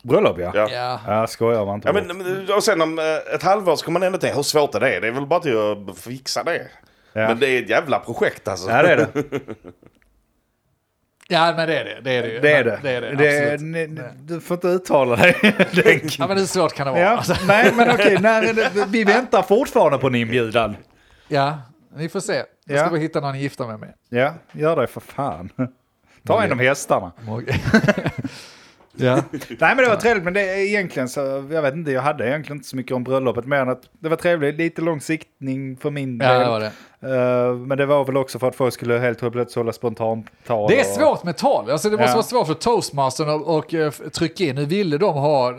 [SPEAKER 3] Bröllop ja.
[SPEAKER 1] Ja.
[SPEAKER 2] Ja.
[SPEAKER 3] Ja, skojar man inte.
[SPEAKER 1] Ja,
[SPEAKER 3] bort.
[SPEAKER 1] men, och sen om eh, ett halvår så kommer man ändå till hur svårt det är. Det är väl bara till att fixa det.
[SPEAKER 3] Ja.
[SPEAKER 1] Men det är ett jävla projekt alltså.
[SPEAKER 3] Ja, det är det.
[SPEAKER 2] Ja, men det är det. Det är det ju.
[SPEAKER 3] Det är
[SPEAKER 2] Men
[SPEAKER 3] det.
[SPEAKER 2] [LAUGHS] det, är det, absolut.
[SPEAKER 3] ne- ne- du får inte uttala dig,
[SPEAKER 2] [LAUGHS]
[SPEAKER 3] Denk.
[SPEAKER 2] Ja, men hur svårt kan det vara?
[SPEAKER 3] Ja,
[SPEAKER 2] Alltså,
[SPEAKER 3] nej, men
[SPEAKER 2] [LAUGHS]
[SPEAKER 3] okej, nej, men vi väntar fortfarande på en inbjudan.
[SPEAKER 2] ja, ni får se. Jag
[SPEAKER 3] Ja.
[SPEAKER 2] ska bara hitta någon att gifta mig med.
[SPEAKER 3] Ja, gör det för fan. Ta en om hästarna.
[SPEAKER 2] Morgan. [LAUGHS] ja.
[SPEAKER 3] Nej, men det var trevligt, men det är egentligen så, jag vet inte, jag hade egentligen inte så mycket om bröllopet, mer än att det var trevligt, lite lång siktning för min del.
[SPEAKER 2] ja, det var det.
[SPEAKER 3] Eh, men det var väl också för att folk skulle helt plötsligt hålla spontantal.
[SPEAKER 2] Det är
[SPEAKER 3] och-
[SPEAKER 2] svårt med tal. Alltså, det måste
[SPEAKER 3] Ja.
[SPEAKER 2] vara svårt för toastmastern att- och eh, f- trycka in. Nu ville de ha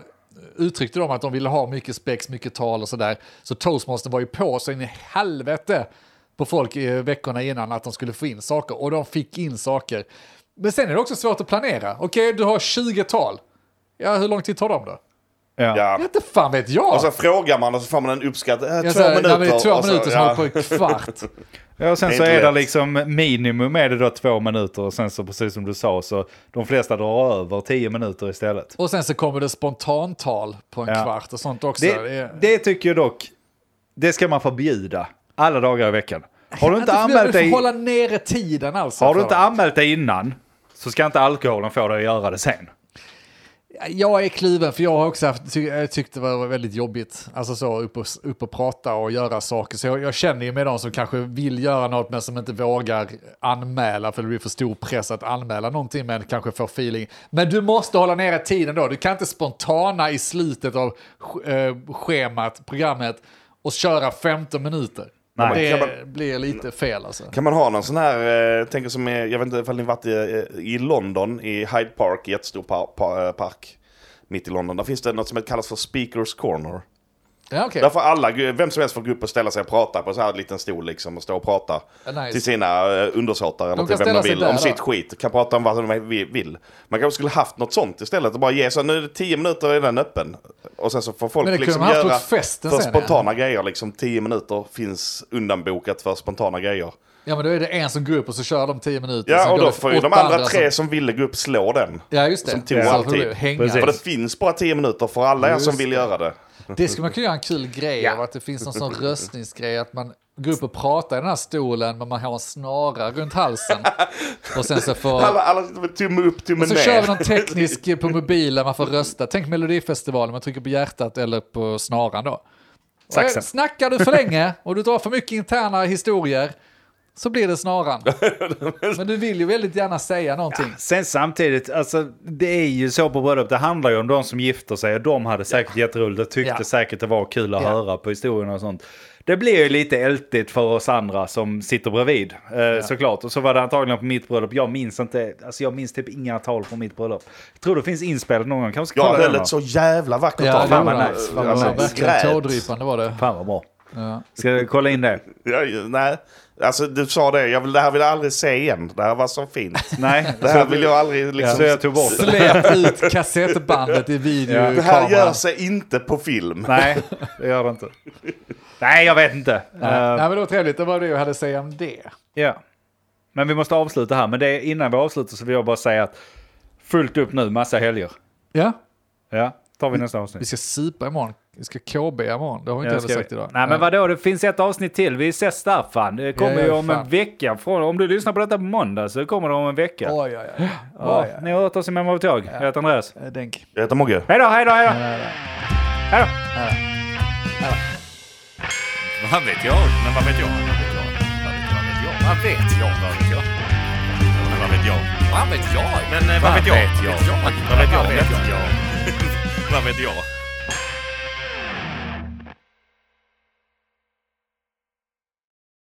[SPEAKER 2] uttryckte de att de ville ha mycket spex, mycket tal och sådär. Så toastmastern var ju på så in i helvete på folk eh, veckorna innan att de skulle få in saker. Och de fick in saker. Men sen är det också svårt att planera. Okej, du har 20 tal. Ja, hur lång tid tar de då?
[SPEAKER 3] Ja.
[SPEAKER 1] Ja.
[SPEAKER 2] Jag vet inte fan vet jag.
[SPEAKER 1] Och så frågar man och så får man en uppskattning. Äh, två
[SPEAKER 2] jag säger,
[SPEAKER 1] minuter.
[SPEAKER 2] Nej, men det är två
[SPEAKER 1] och så,
[SPEAKER 2] minuter som håller på i
[SPEAKER 1] [LAUGHS]
[SPEAKER 2] kvart.
[SPEAKER 3] Ja, och sen
[SPEAKER 1] Det är inte
[SPEAKER 3] så är det
[SPEAKER 1] lätt.
[SPEAKER 3] liksom minimum är det då två minuter och sen så precis som du sa så de flesta drar över tio minuter istället.
[SPEAKER 2] Och sen så kommer det spontantal på en
[SPEAKER 3] Ja.
[SPEAKER 2] kvart och sånt också. Det
[SPEAKER 3] Det,
[SPEAKER 2] är-
[SPEAKER 3] det tycker jag dock, det ska man förbjuda alla dagar i veckan. Har du inte
[SPEAKER 2] Att
[SPEAKER 3] anmält
[SPEAKER 2] Du
[SPEAKER 3] dig,
[SPEAKER 2] får hålla nere tiden alltså.
[SPEAKER 3] har du
[SPEAKER 2] för
[SPEAKER 3] inte
[SPEAKER 2] dem.
[SPEAKER 3] anmält dig innan så ska inte alkoholen få dig att göra det sen.
[SPEAKER 2] jag är kliven för jag har också haft, ty, jag tyckte det var väldigt jobbigt. Alltså så upp och, upp och prata och göra saker. Så jag, jag känner ju med de som kanske vill göra något men som inte vågar anmäla för det blir för stor press att anmäla någonting men kanske får feeling. Men du måste hålla nere tiden då. Du kan inte spontana i slutet av eh, schemat, programmet och köra 15 minuter.
[SPEAKER 3] Nej.
[SPEAKER 2] Det
[SPEAKER 1] Kan man-
[SPEAKER 2] blir lite fel alltså.
[SPEAKER 1] Kan man ha någon sån här, eh, tänker som, eh, jag vet inte ifall ni varit i, eh, i London, i Hyde Park, jättestor par, par, eh, park. Mitt i London, där finns det något som kallas för Speakers Corner.
[SPEAKER 2] Ja, okej.
[SPEAKER 1] Där får alla, vem som helst får gå upp och ställa sig och prata på så här en liten stol liksom och stå och prata.
[SPEAKER 2] Ja, nice.
[SPEAKER 1] Till sina eh, undersåtar eller
[SPEAKER 2] kan
[SPEAKER 1] till vem de
[SPEAKER 2] ställa sig
[SPEAKER 1] vill.
[SPEAKER 2] där
[SPEAKER 1] Om
[SPEAKER 2] då.
[SPEAKER 1] sitt skit. Kan prata om vad de vi- vill. Man kanske skulle haft något sånt istället. Och bara ge så här, nu är det tio minuter är den öppen. Och sen så får folk
[SPEAKER 2] Men det kunde
[SPEAKER 1] liksom
[SPEAKER 2] man haft
[SPEAKER 1] göra
[SPEAKER 2] åt festen
[SPEAKER 1] för
[SPEAKER 2] sen, ja.
[SPEAKER 1] spontana grejer. Liksom tio minuter finns undanbokat för spontana grejer.
[SPEAKER 2] Ja, men då är det en som går upp och så kör de 10 minuter.
[SPEAKER 1] Ja,
[SPEAKER 2] sen
[SPEAKER 1] och
[SPEAKER 2] går
[SPEAKER 1] då
[SPEAKER 2] det
[SPEAKER 1] får ju de
[SPEAKER 2] åtta
[SPEAKER 1] andra tre
[SPEAKER 2] som-
[SPEAKER 1] som ville gå upp slå den.
[SPEAKER 2] Ja, just det.
[SPEAKER 1] som tog
[SPEAKER 2] Så
[SPEAKER 1] all
[SPEAKER 2] får du
[SPEAKER 1] tid.
[SPEAKER 2] Hänga.
[SPEAKER 3] Precis.
[SPEAKER 1] För det finns bara tio minuter för alla er
[SPEAKER 2] Just
[SPEAKER 1] som vill
[SPEAKER 2] det.
[SPEAKER 1] göra det.
[SPEAKER 2] Det skulle man kunna göra en kul grej av, att det finns någon sån röstningsgrej, att man går upp och pratar i den här stolen, men man har en snara
[SPEAKER 1] [LAUGHS]
[SPEAKER 2] runt halsen. Och sen så får...
[SPEAKER 1] Alla, alla sitter med tumme upp, tumme
[SPEAKER 2] Och så
[SPEAKER 1] ner.
[SPEAKER 2] kör vi någon teknisk eh, på mobilen, man får rösta. Tänk Melodifestivalen, man trycker på hjärtat eller på snaran då. Och eh,
[SPEAKER 3] Saxen.
[SPEAKER 2] Snackar du för länge och du drar för mycket interna historier, så blir
[SPEAKER 1] [LAUGHS]
[SPEAKER 2] det snaran. Men du vill ju väldigt gärna säga någonting.
[SPEAKER 3] Sen samtidigt, alltså, det är ju så på bröllop, det handlar ju om de som gifter sig och de hade säkert jätteroligt och tyckte
[SPEAKER 2] Ja.
[SPEAKER 3] säkert det var kul att
[SPEAKER 2] Ja.
[SPEAKER 3] höra på historien och sånt. Det blir ju lite ältigt för oss andra som sitter bredvid eh, såklart. Och så var det antagligen på mitt bröllop, jag minns inte, alltså jag minns typ inga tal från mitt bröllop. Jag tror det finns inspelat någon gång, kanske ska
[SPEAKER 1] Jag
[SPEAKER 3] kolla
[SPEAKER 1] höll
[SPEAKER 3] den.
[SPEAKER 1] ett så jävla vackert
[SPEAKER 2] Ja,
[SPEAKER 1] tal.
[SPEAKER 2] det
[SPEAKER 3] fan
[SPEAKER 2] var
[SPEAKER 3] vad
[SPEAKER 2] det.
[SPEAKER 3] nice,
[SPEAKER 2] Det var
[SPEAKER 1] Alltså,
[SPEAKER 2] Verkligen
[SPEAKER 1] grät.
[SPEAKER 2] tårdrypande var det.
[SPEAKER 3] Fan vad bra.
[SPEAKER 2] Ja.
[SPEAKER 3] Ska jag kolla in det?
[SPEAKER 1] Ja, ju- nej, alltså du sa det. Jag vill, det här vill jag aldrig se igen. Det här var så fint.
[SPEAKER 3] Nej,
[SPEAKER 1] [LAUGHS] Det här vill jag aldrig liksom...
[SPEAKER 3] så jag tog bort det.
[SPEAKER 2] Släpp ut kassettbandet i
[SPEAKER 1] Det
[SPEAKER 3] Ja.
[SPEAKER 2] videokameran.
[SPEAKER 1] här gör sig inte på film.
[SPEAKER 3] Nej, det gör det inte. Nej, jag vet inte. Eh,
[SPEAKER 2] Nej, men det var trevligt, det var det jag hade att säga om det.
[SPEAKER 3] Ja. Men vi måste avsluta här. Men det, innan vi avslutar så vill jag bara säga att fullt upp nu, massa helger.
[SPEAKER 2] Ja,
[SPEAKER 3] Ja, tar vi nästa
[SPEAKER 2] vi
[SPEAKER 3] avsnitt.
[SPEAKER 2] ska supa imorgon. Vi ska KB imorgon, det har vi inte
[SPEAKER 3] Ja,
[SPEAKER 2] heller
[SPEAKER 3] ska vi-
[SPEAKER 2] sagt idag.
[SPEAKER 3] Nej men vadå, det finns ett avsnitt till. Vi ses där fan. Det kommer
[SPEAKER 2] Ja, ja,
[SPEAKER 3] ju om
[SPEAKER 2] fan.
[SPEAKER 3] en vecka. Från, om du lyssnar på detta på måndag så kommer det om en vecka.
[SPEAKER 2] Oj, oj, oj.
[SPEAKER 3] ja,
[SPEAKER 2] oj,
[SPEAKER 3] Ni har hört oss i Mamma av tåg. Jag heter Andreas.
[SPEAKER 2] oj. Denk.
[SPEAKER 1] Jag heter Mogge.
[SPEAKER 3] Hej då, hej då, hej då! Hej då!
[SPEAKER 4] Vad vet jag? Men vad vet jag? Vad vet jag? Vad vet jag? Vad vet jag? Vad vet jag? Men vad vet jag? Vad vet jag? Men vad vet jag? Vad vet jag? Vad vet jag? Vad vet jag?